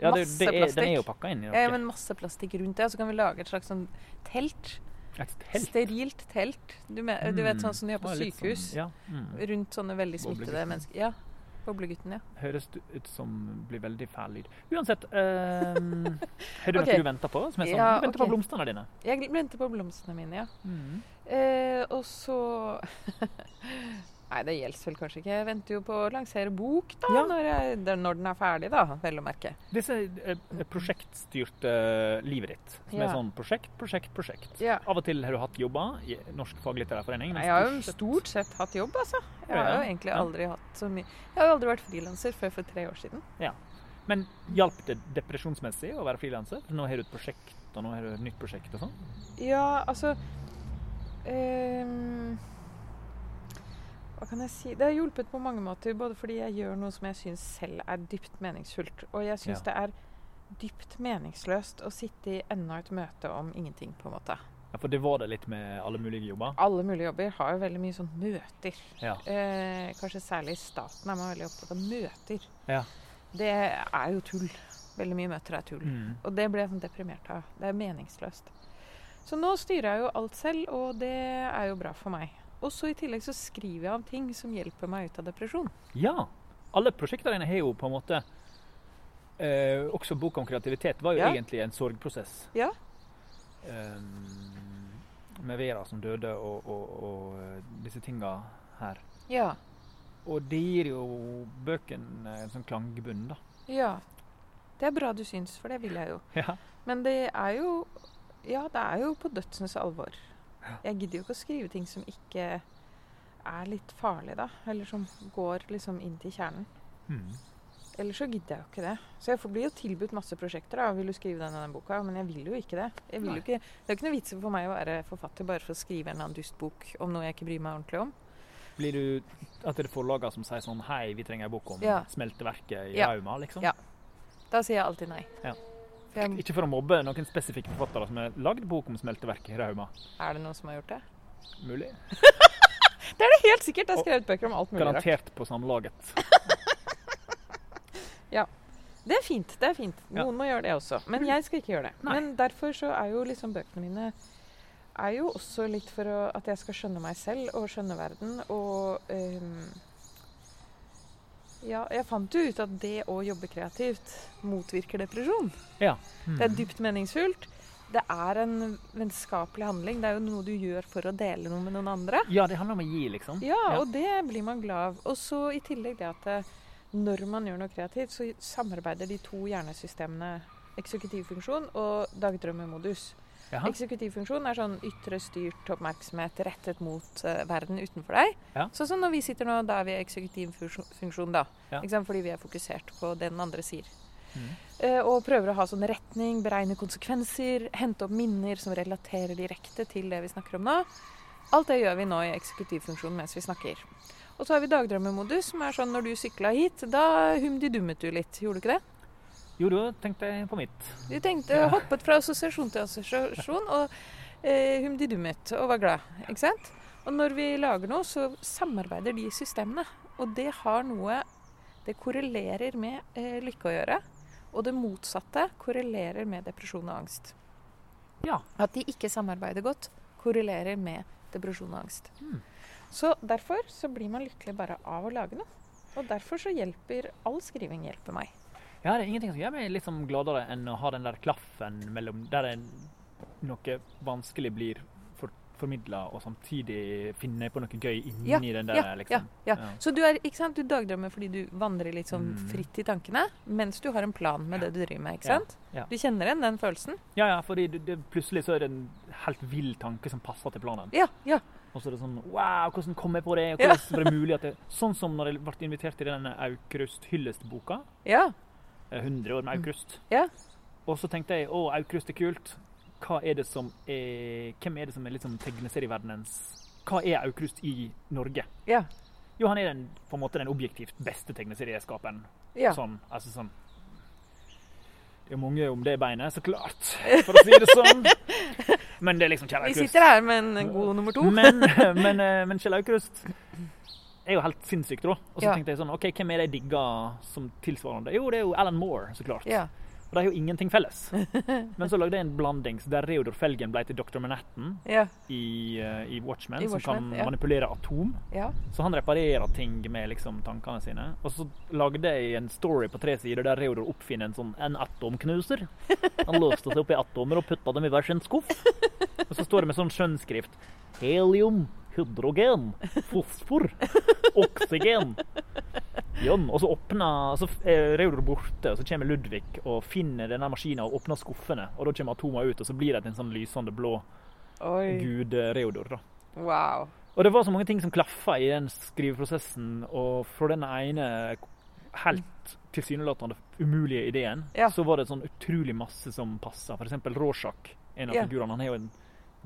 [SPEAKER 1] Ja, det,
[SPEAKER 2] masse
[SPEAKER 1] det er, den er
[SPEAKER 2] plastikk.
[SPEAKER 1] jo pakka inn i noe.
[SPEAKER 2] Ja, men masse plastikk rundt det, og så kan vi lage et slags sånn telt.
[SPEAKER 1] Et telt.
[SPEAKER 2] Sterilt telt. Du, me- du vet sånn som de har på
[SPEAKER 1] Det var Mm. litt
[SPEAKER 2] sykehus.
[SPEAKER 1] Sånn, ja. mm.
[SPEAKER 2] Rundt sånne veldig smittede
[SPEAKER 1] Boblegutten.
[SPEAKER 2] mennesker. Ja. Boblegutten, ja.
[SPEAKER 1] Høres ut som blir veldig fæl lyd. Uansett. ehm, har du
[SPEAKER 2] Ok.
[SPEAKER 1] noe du venter på? Som er sånn,
[SPEAKER 2] Ja,
[SPEAKER 1] du venter
[SPEAKER 2] ok.
[SPEAKER 1] på blomstene dine.
[SPEAKER 2] Jeg venter på blomstene mine, ja. Eh, og så Nei, det gjelder vel kanskje ikke. Jeg venter jo på å lansere bok, da.
[SPEAKER 1] Ja.
[SPEAKER 2] Når, jeg, det er når den er ferdig, da, vel å merke.
[SPEAKER 1] Disse eh, prosjektstyrte livet ditt, som
[SPEAKER 2] Ja.
[SPEAKER 1] er sånn prosjekt, prosjekt, prosjekt.
[SPEAKER 2] Ja.
[SPEAKER 1] Av og til har du hatt jobber i Norsk faglitterær forening. men
[SPEAKER 2] Jeg har jo
[SPEAKER 1] stort sett-
[SPEAKER 2] stort sett hatt jobb, altså. Jeg har
[SPEAKER 1] Ja,
[SPEAKER 2] jo
[SPEAKER 1] ja.
[SPEAKER 2] egentlig
[SPEAKER 1] Ja.
[SPEAKER 2] aldri hatt så mye Jeg har jo aldri vært frilanser før for tre år siden.
[SPEAKER 1] Men hjalp det depresjonsmessig å være frilanser? Nå har du et prosjekt, og nå har du et nytt prosjekt og sånn.
[SPEAKER 2] Ja, altså ehm, Hva kan jeg si Det har hjulpet på mange måter. Både fordi jeg gjør noe som jeg syns selv er dypt meningsfullt. Og jeg syns det er dypt meningsløst å sitte i enda et møte om ingenting, på en måte.
[SPEAKER 1] Ja, for det var det litt med alle mulige jobber.
[SPEAKER 2] Alle mulige jobber har jo veldig mye sånn møter.
[SPEAKER 1] Ja.
[SPEAKER 2] Eh, kanskje særlig i staten er man veldig opptatt av møter.
[SPEAKER 1] Ja.
[SPEAKER 2] Det er jo tull. Veldig mye møter er tull.
[SPEAKER 1] Mm.
[SPEAKER 2] Og det ble jeg sånn deprimert av. Det er meningsløst. Så nå styrer jeg jo alt selv, og det er jo bra for meg. Og så i tillegg så skriver jeg om ting som hjelper meg ut av depresjon.
[SPEAKER 1] Ja. Alle prosjektene dine har jo på en måte eh, Også boka om kreativitet var jo
[SPEAKER 2] Ja.
[SPEAKER 1] egentlig en sorgprosess.
[SPEAKER 2] Ja.
[SPEAKER 1] Eh, med Vera som døde, og, og, og eh, disse tinga her.
[SPEAKER 2] Ja.
[SPEAKER 1] Og det gir jo bøkene en sånn klangbunn, da.
[SPEAKER 2] Ja. Det er bra du syns, for det vil jeg jo.
[SPEAKER 1] Ja.
[SPEAKER 2] Men det er jo Ja, det er jo på dødsens alvor. Jeg gidder jo ikke å skrive ting som ikke er litt farlig, da. Eller som går liksom inn til kjernen.
[SPEAKER 1] Mm.
[SPEAKER 2] Ellers så gidder jeg jo ikke det. Så jeg får- blir jo tilbudt masse prosjekter. da, Vil du skrive den og den boka? Men jeg vil jo ikke det. Jeg vil jo
[SPEAKER 1] Nei.
[SPEAKER 2] ikke, det er jo ikke noe vits for meg å være forfatter bare for å skrive en eller annen dustbok om noe jeg ikke bryr meg ordentlig om.
[SPEAKER 1] Blir du at det er forlagene som sier sånn Hei, vi trenger en bok om
[SPEAKER 2] Ja.
[SPEAKER 1] smelteverket i
[SPEAKER 2] Ja.
[SPEAKER 1] Rauma, liksom?
[SPEAKER 2] Ja. Da sier jeg alltid nei.
[SPEAKER 1] Ja.
[SPEAKER 2] For jeg,
[SPEAKER 1] Ikke for å mobbe noen spesifikke forfattere som har lagd bok om smelteverket i Rauma.
[SPEAKER 2] er det noen som har gjort det?
[SPEAKER 1] Mulig.
[SPEAKER 2] Det er det helt sikkert! Jeg har skrevet bøker om alt mulig rart.
[SPEAKER 1] Garantert på samlaget.
[SPEAKER 2] Det er fint. det er fint.
[SPEAKER 1] Ja. Mm.
[SPEAKER 2] Noen må gjøre det også. Men jeg skal ikke gjøre det.
[SPEAKER 1] Nei.
[SPEAKER 2] Men derfor så er jo liksom bøkene mine er jo også litt for å, at jeg skal skjønne meg selv og skjønne verden. Og ehm, ja, jeg fant jo ut at det å jobbe kreativt motvirker depresjon. Det
[SPEAKER 1] Mm.
[SPEAKER 2] er dypt meningsfullt. Det er en vennskapelig handling. Det er jo noe du gjør for å dele noe med noen andre.
[SPEAKER 1] Ja, det handler om å gi, liksom.
[SPEAKER 2] Ja,
[SPEAKER 1] Ja.
[SPEAKER 2] og det blir man glad av. Og så i tillegg det at eh, når man gjør noe kreativt, så samarbeider de to hjernesystemene eksekutivfunksjon og dagdrømmemodus.
[SPEAKER 1] Jaha.
[SPEAKER 2] Eksekutivfunksjon er sånn ytre styrt oppmerksomhet rettet mot eh, verden utenfor deg.
[SPEAKER 1] Ja.
[SPEAKER 2] Sånn som når vi sitter nå, da er vi i eksekutivfunksjon, da.
[SPEAKER 1] Ja.
[SPEAKER 2] Ikke sant? Fordi vi er fokusert på det den andre sier.
[SPEAKER 1] Mm.
[SPEAKER 2] eh, Og prøver å ha sånn retning, beregne konsekvenser, hente opp minner som relaterer direkte til det vi snakker om nå. Alt det gjør vi nå i eksekutivfunksjonen mens vi snakker. Og så har vi dagdrømmemodus, som er sånn når du sykla hit, da humdidummet du litt, gjorde du ikke det?
[SPEAKER 1] Jo, da tenkte jeg på mitt.
[SPEAKER 2] Du tenkte, hoppet fra assosiasjon til assosiasjon og eh, humdidummet og var glad. Ikke sant? Og når vi lager noe, så samarbeider de systemene. Og det har noe Det korrelerer med eh, lykke å gjøre. Og det motsatte korrelerer med depresjon og angst.
[SPEAKER 1] Ja.
[SPEAKER 2] At de ikke samarbeider godt, korrelerer med depresjon og angst.
[SPEAKER 1] Hmm.
[SPEAKER 2] Så derfor så blir man lykkelig bare av å lage noe. Og derfor så hjelper all skriving hjelper meg.
[SPEAKER 1] Ja, det er ingenting som gjør meg litt sånn gladere enn å ha den der klaffen mellom der en, noe vanskelig blir for, formidla, og samtidig finne på noe gøy inni
[SPEAKER 2] Ja,
[SPEAKER 1] den der, liksom.
[SPEAKER 2] ja, ja.
[SPEAKER 1] Ja.
[SPEAKER 2] Så du, er, ikke sant? du dagdrømmer fordi du vandrer litt sånn
[SPEAKER 1] Mm.
[SPEAKER 2] fritt i tankene, mens du har en plan med det du driver med. ikke
[SPEAKER 1] Ja,
[SPEAKER 2] sant?
[SPEAKER 1] ja.
[SPEAKER 2] Du kjenner igjen den følelsen?
[SPEAKER 1] Ja, ja, fordi det, det, plutselig så er det en helt vill tanke som passer til planen.
[SPEAKER 2] Ja. ja.
[SPEAKER 1] Og så er det sånn Wow, hvordan kom jeg på det? Og
[SPEAKER 2] Ja.
[SPEAKER 1] hvordan var det mulig at det Sånn som når jeg ble invitert til denne Aukrust Hyllest-boka.
[SPEAKER 2] ja.
[SPEAKER 1] eh, 100 år med Aukrust.
[SPEAKER 2] Mm. Ja.
[SPEAKER 1] Og så tenkte jeg å, Aukrust er kult. Hva er det som er Hvem er det som er liksom tegneserieverdenens Hva er Aukrust i Norge?
[SPEAKER 2] ja.
[SPEAKER 1] Jo, han er den, på en måte den objektivt beste tegneserieskaperen.
[SPEAKER 2] ja.
[SPEAKER 1] Sånn, altså sånn Det er mange om det beinet, så klart, for å si det sånn. Men det er liksom Kjell
[SPEAKER 2] Vi
[SPEAKER 1] Aukrust.
[SPEAKER 2] sitter her med en god nummer to.
[SPEAKER 1] Men, men, eh, men Kjell Aukrust er jo helt sinnssykt rå. Og så
[SPEAKER 2] Ja.
[SPEAKER 1] tenkte jeg sånn OK, hvem er det jeg digger som tilsvarende? Jo, det er jo Alan Moore, så klart.
[SPEAKER 2] Ja.
[SPEAKER 1] Og de har jo ingenting felles. Men så lagde jeg en blandings der Reodor Felgen ble til Dr. Manhattan
[SPEAKER 2] Ja.
[SPEAKER 1] i, eh, i Watchmen,
[SPEAKER 2] I
[SPEAKER 1] som
[SPEAKER 2] Watchmen,
[SPEAKER 1] kan
[SPEAKER 2] ja.
[SPEAKER 1] manipulere atom.
[SPEAKER 2] ja.
[SPEAKER 1] Så han reparerer ting med liksom tankene sine. Og så lagde jeg en story på tre sider der Reodor oppfinner en sånn en atomknuser. Han låste seg opp i atomer og putta dem i hver sin skuff. Og så står det med sånn skjønnskrift Helium, hydrogen, fosfor, oksygen. Jønn. Og så åpner så er Reodor borte, og så kommer Ludvig og finner denne maskinen og åpner skuffene. Og da kommer atomene ut, og så blir det til en sånn lysende blå
[SPEAKER 2] Oi.
[SPEAKER 1] gud eh, Reodor, da.
[SPEAKER 2] Wow.
[SPEAKER 1] Og det var så mange ting som klaffa i den skriveprosessen, og fra den ene helt tilsynelatende umulige ideen,
[SPEAKER 2] Ja.
[SPEAKER 1] så var det sånn utrolig masse som passa. For eksempel Rorschach, en av
[SPEAKER 2] Ja.
[SPEAKER 1] figurene. Han har jo en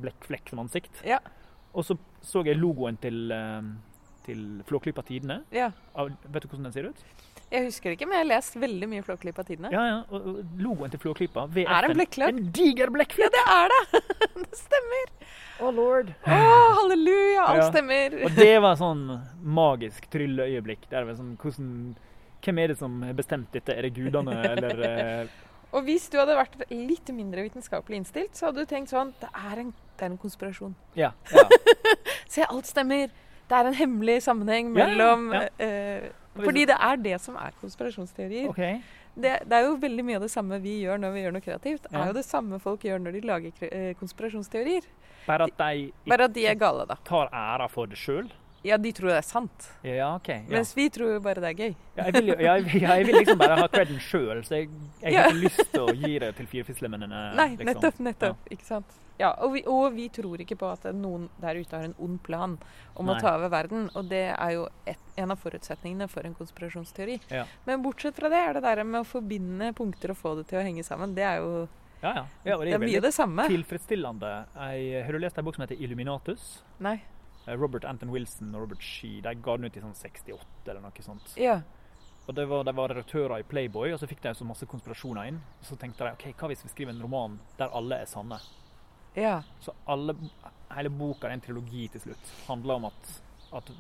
[SPEAKER 1] blekkflekk som ansikt.
[SPEAKER 2] Ja.
[SPEAKER 1] Og så så jeg logoen til, eh, til Flåklypa Tidene.
[SPEAKER 2] Ja.
[SPEAKER 1] Av- Vet du hvordan den ser ut?
[SPEAKER 2] Jeg husker det ikke, men jeg har lest veldig mye Flåklypa tidene.
[SPEAKER 1] Ja, ja. og- og Logoen til Flåklypa. VF,
[SPEAKER 2] Er det en blekkflekk?
[SPEAKER 1] En diger
[SPEAKER 2] Ja,
[SPEAKER 1] blekkflekk!
[SPEAKER 2] det er det! Det stemmer.
[SPEAKER 1] Oh, lord.
[SPEAKER 2] Å, halleluja! Alt
[SPEAKER 1] Ja.
[SPEAKER 2] stemmer.
[SPEAKER 1] Og det var sånn magisk trylleøyeblikk. Der det var sånn, hvordan, hvem er det som har bestemt dette? Er det gudene, eller eh,
[SPEAKER 2] Og hvis du hadde vært litt mindre vitenskapelig innstilt, så hadde du tenkt sånn Det er en, det er en konspirasjon.
[SPEAKER 1] Ja. ja.
[SPEAKER 2] Se, alt stemmer. Det er en hemmelig sammenheng
[SPEAKER 1] Ja, ja,
[SPEAKER 2] mellom
[SPEAKER 1] ja.
[SPEAKER 2] eh,
[SPEAKER 1] Og hvis-
[SPEAKER 2] Fordi det er det som er konspirasjonsteorier.
[SPEAKER 1] OK.
[SPEAKER 2] Det, det er jo veldig mye av det samme vi gjør når vi gjør noe kreativt. Det
[SPEAKER 1] Ja.
[SPEAKER 2] er jo det samme folk gjør når de lager kre- eh, konspirasjonsteorier.
[SPEAKER 1] Bare at de ikke
[SPEAKER 2] Bare at de er gale, da.
[SPEAKER 1] tar æra for det sjøl?
[SPEAKER 2] Ja, de tror det er sant.
[SPEAKER 1] Ja, OK. Ja.
[SPEAKER 2] Mens vi tror jo bare det er gøy.
[SPEAKER 1] Ja, jeg, vil, jo- ja, jeg, vil- ja, jeg vil liksom bare ha creden sjøl, så jeg, jeg har
[SPEAKER 2] Ja.
[SPEAKER 1] ikke lyst til å gi det til firefislemennene.
[SPEAKER 2] Nei,
[SPEAKER 1] liksom.
[SPEAKER 2] nettopp, nettopp. Ikke sant. Ja, og vi, og vi tror ikke på at noen der ute har en ond plan om
[SPEAKER 1] Nei.
[SPEAKER 2] å ta over verden. Og det er jo et, en av forutsetningene for en konspirasjonsteori.
[SPEAKER 1] Ja.
[SPEAKER 2] Men bortsett fra det er det der med å forbinde punkter og få det til å henge sammen, det er jo
[SPEAKER 1] Ja, ja. ja og
[SPEAKER 2] det
[SPEAKER 1] det er
[SPEAKER 2] er mye
[SPEAKER 1] veldig
[SPEAKER 2] det samme.
[SPEAKER 1] tilfredsstillende. Jeg, har du lest en bok som heter 'Illuminatus'?
[SPEAKER 2] Nei.
[SPEAKER 1] Eh, Robert Anton Wilson og Robert Shee. De ga den ut i sånn 68 eller noe sånt.
[SPEAKER 2] Ja.
[SPEAKER 1] Og det var, De var redaktører i Playboy, og så fikk de så masse konspirasjoner inn. Og så tenkte de ok, hva hvis vi skriver en roman der alle er sanne?
[SPEAKER 2] Ja.
[SPEAKER 1] Så alle, hele boka, en trilogi til slutt, handler om at, at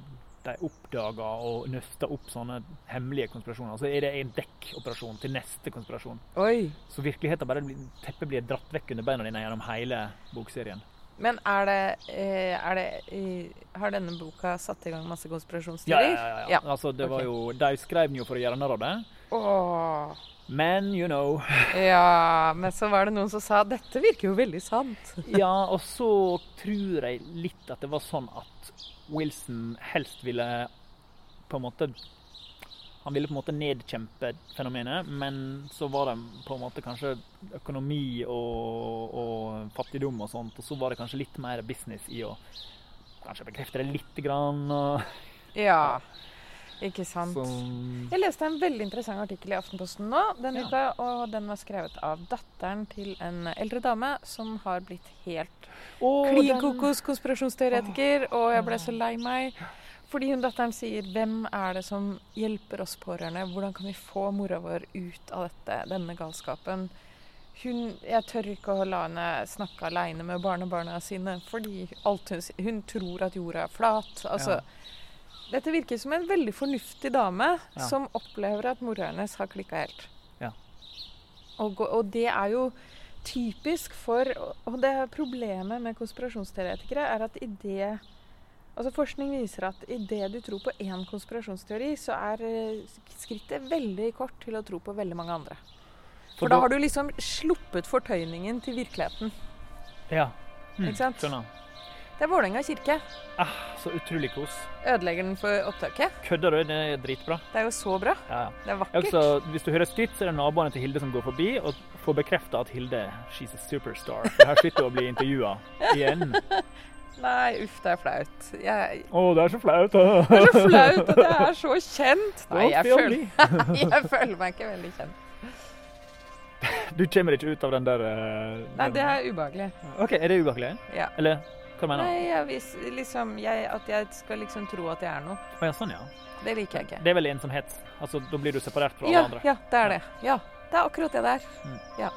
[SPEAKER 1] de oppdaga og nøsta opp sånne hemmelige konspirasjoner. Så er det en dekkoperasjon til neste konspirasjon.
[SPEAKER 2] Oi.
[SPEAKER 1] Så virkeligheten bare blir, teppet blir dratt vekk under beina dine gjennom hele bokserien.
[SPEAKER 2] Men er det, eh, er det eh, Har denne boka satt i gang masse
[SPEAKER 1] Ja, ja,
[SPEAKER 2] konspirasjonsteorier?
[SPEAKER 1] ja, ja.
[SPEAKER 2] Ja,
[SPEAKER 1] Altså, det var
[SPEAKER 2] ok.
[SPEAKER 1] jo, De skrev den jo for å gjøre narr av det,
[SPEAKER 2] Åh.
[SPEAKER 1] men you know.
[SPEAKER 2] ja, men så var det noen som sa dette virker jo veldig sant.
[SPEAKER 1] Ja, og så tror jeg litt at det var sånn at Wilson helst ville på en måte Han ville på en måte nedkjempe fenomenet, men så var det på en måte kanskje økonomi og, og fattigdom og sånt, og så var det kanskje litt mer business i å kanskje bekrefte det lite grann. Og,
[SPEAKER 2] Ja. Ikke sant.
[SPEAKER 1] Som
[SPEAKER 2] Jeg leste en veldig interessant artikkel i Aftenposten nå, den
[SPEAKER 1] Ja.
[SPEAKER 2] uka, og den var skrevet av datteren til en eldre dame som har blitt helt
[SPEAKER 1] Å, den-
[SPEAKER 2] klinkokos konspirasjonsteoretiker, og jeg ble så lei meg. Fordi hun datteren sier 'Hvem er det som hjelper oss pårørende? Hvordan kan vi få mora vår ut av dette, denne galskapen?' Hun, jeg tør ikke å la henne snakke aleine med barnebarna sine, fordi alt hun, s- hun tror at jorda er flat. Altså,
[SPEAKER 1] Ja.
[SPEAKER 2] dette virker som en veldig fornuftig dame
[SPEAKER 1] Ja.
[SPEAKER 2] som opplever at mora hennes har klikka helt.
[SPEAKER 1] Ja.
[SPEAKER 2] Og, gå- og det er jo typisk for Og det er problemet med konspirasjonsteoretikere er at i det Altså Forskning viser at idet du tror på én konspirasjonsteori, så er eh, skrittet veldig kort til å tro på veldig mange andre. For da har du liksom sluppet fortøyningen til virkeligheten.
[SPEAKER 1] Ja. Mm,
[SPEAKER 2] Ikke sant?
[SPEAKER 1] Skjønner.
[SPEAKER 2] Det er Vålerenga kirke.
[SPEAKER 1] Ah, så utrolig kos.
[SPEAKER 2] Ødelegger den for opptaket.
[SPEAKER 1] Kødder du? Det er dritbra.
[SPEAKER 2] Det er jo så bra.
[SPEAKER 1] Ja, ja.
[SPEAKER 2] Det er
[SPEAKER 1] Ja,
[SPEAKER 2] vakkert.
[SPEAKER 1] Altså, hvis du hører skritt, så er det naboene til Hilde som går forbi og får bekrefta at Hilde she's a superstar. For her sitter hun og blir intervjua igjen.
[SPEAKER 2] Nei, uff, det er flaut. Jeg,
[SPEAKER 1] Å, det er så flaut.
[SPEAKER 2] det er så flaut, og det er så kjent. Nei, jeg føler,
[SPEAKER 1] Fjolig.
[SPEAKER 2] jeg føler meg ikke veldig kjent.
[SPEAKER 1] Du kommer ikke ut av den der eh,
[SPEAKER 2] Nei,
[SPEAKER 1] den-
[SPEAKER 2] det er ubehagelig.
[SPEAKER 1] OK, er det ubehagelig?
[SPEAKER 2] Ja.
[SPEAKER 1] Eller hva mener du?
[SPEAKER 2] Nei, jeg, vis- liksom, jeg, at jeg skal liksom tro at jeg er noe.
[SPEAKER 1] Å, ja, sånn, ja.
[SPEAKER 2] Det liker jeg ikke.
[SPEAKER 1] Det er vel ensomhet. Altså, da blir du separert fra alle
[SPEAKER 2] Ja,
[SPEAKER 1] andre.
[SPEAKER 2] ja, det er det. Ja, det er akkurat det der.
[SPEAKER 1] Mm.
[SPEAKER 2] Ja.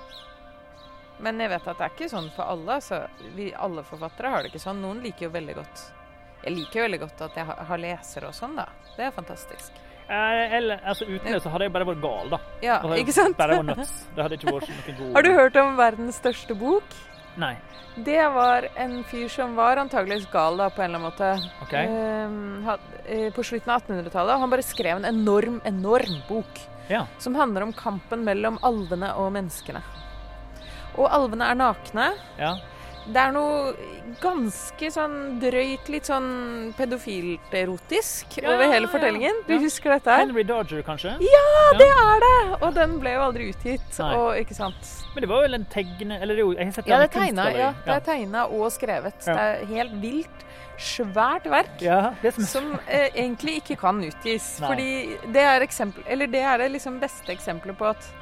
[SPEAKER 2] Men jeg vet at det er ikke sånn for alle. Så vi, alle forfattere har det ikke sånn. Noen liker jo veldig godt Jeg liker jo veldig godt at jeg har, har lesere og sånn, da. Det er fantastisk.
[SPEAKER 1] Eh, Eller, altså, uten det så hadde jeg bare vært gal, da.
[SPEAKER 2] Ja,
[SPEAKER 1] Altså,
[SPEAKER 2] ikke sant?
[SPEAKER 1] Bare vært nuts. Det hadde ikke vært noe god
[SPEAKER 2] Har du hørt om verdens største bok?
[SPEAKER 1] Nei.
[SPEAKER 2] Det var en fyr som var antageligvis gal da, på en eller annen måte.
[SPEAKER 1] OK.
[SPEAKER 2] Ehm, had, eh, på slutten av 1800-tallet. og Han bare skrev en enorm, enorm bok
[SPEAKER 1] Ja.
[SPEAKER 2] som handler om kampen mellom alvene og menneskene. Og alvene er nakne.
[SPEAKER 1] Ja.
[SPEAKER 2] Det er noe ganske sånn drøyt, litt sånn pedofilt erotisk
[SPEAKER 1] Ja,
[SPEAKER 2] over hele
[SPEAKER 1] ja,
[SPEAKER 2] fortellingen. Du
[SPEAKER 1] ja.
[SPEAKER 2] husker dette her?
[SPEAKER 1] Henry Dodger, kanskje?
[SPEAKER 2] Det er det! Og den ble jo aldri utgitt.
[SPEAKER 1] Nei.
[SPEAKER 2] Og, ikke sant?
[SPEAKER 1] Men det var vel en tegne Eller jo, jeg har sett
[SPEAKER 2] Ja,
[SPEAKER 1] den
[SPEAKER 2] det er tegna,
[SPEAKER 1] kunstgalleri.
[SPEAKER 2] ja, det er tegna og skrevet.
[SPEAKER 1] Ja.
[SPEAKER 2] Det er helt vilt. Svært verk.
[SPEAKER 1] ja. ja, det som er
[SPEAKER 2] Som eh, egentlig ikke kan utgis.
[SPEAKER 1] Nei.
[SPEAKER 2] Fordi det er, eksempel, eller det, er det liksom beste eksempelet på at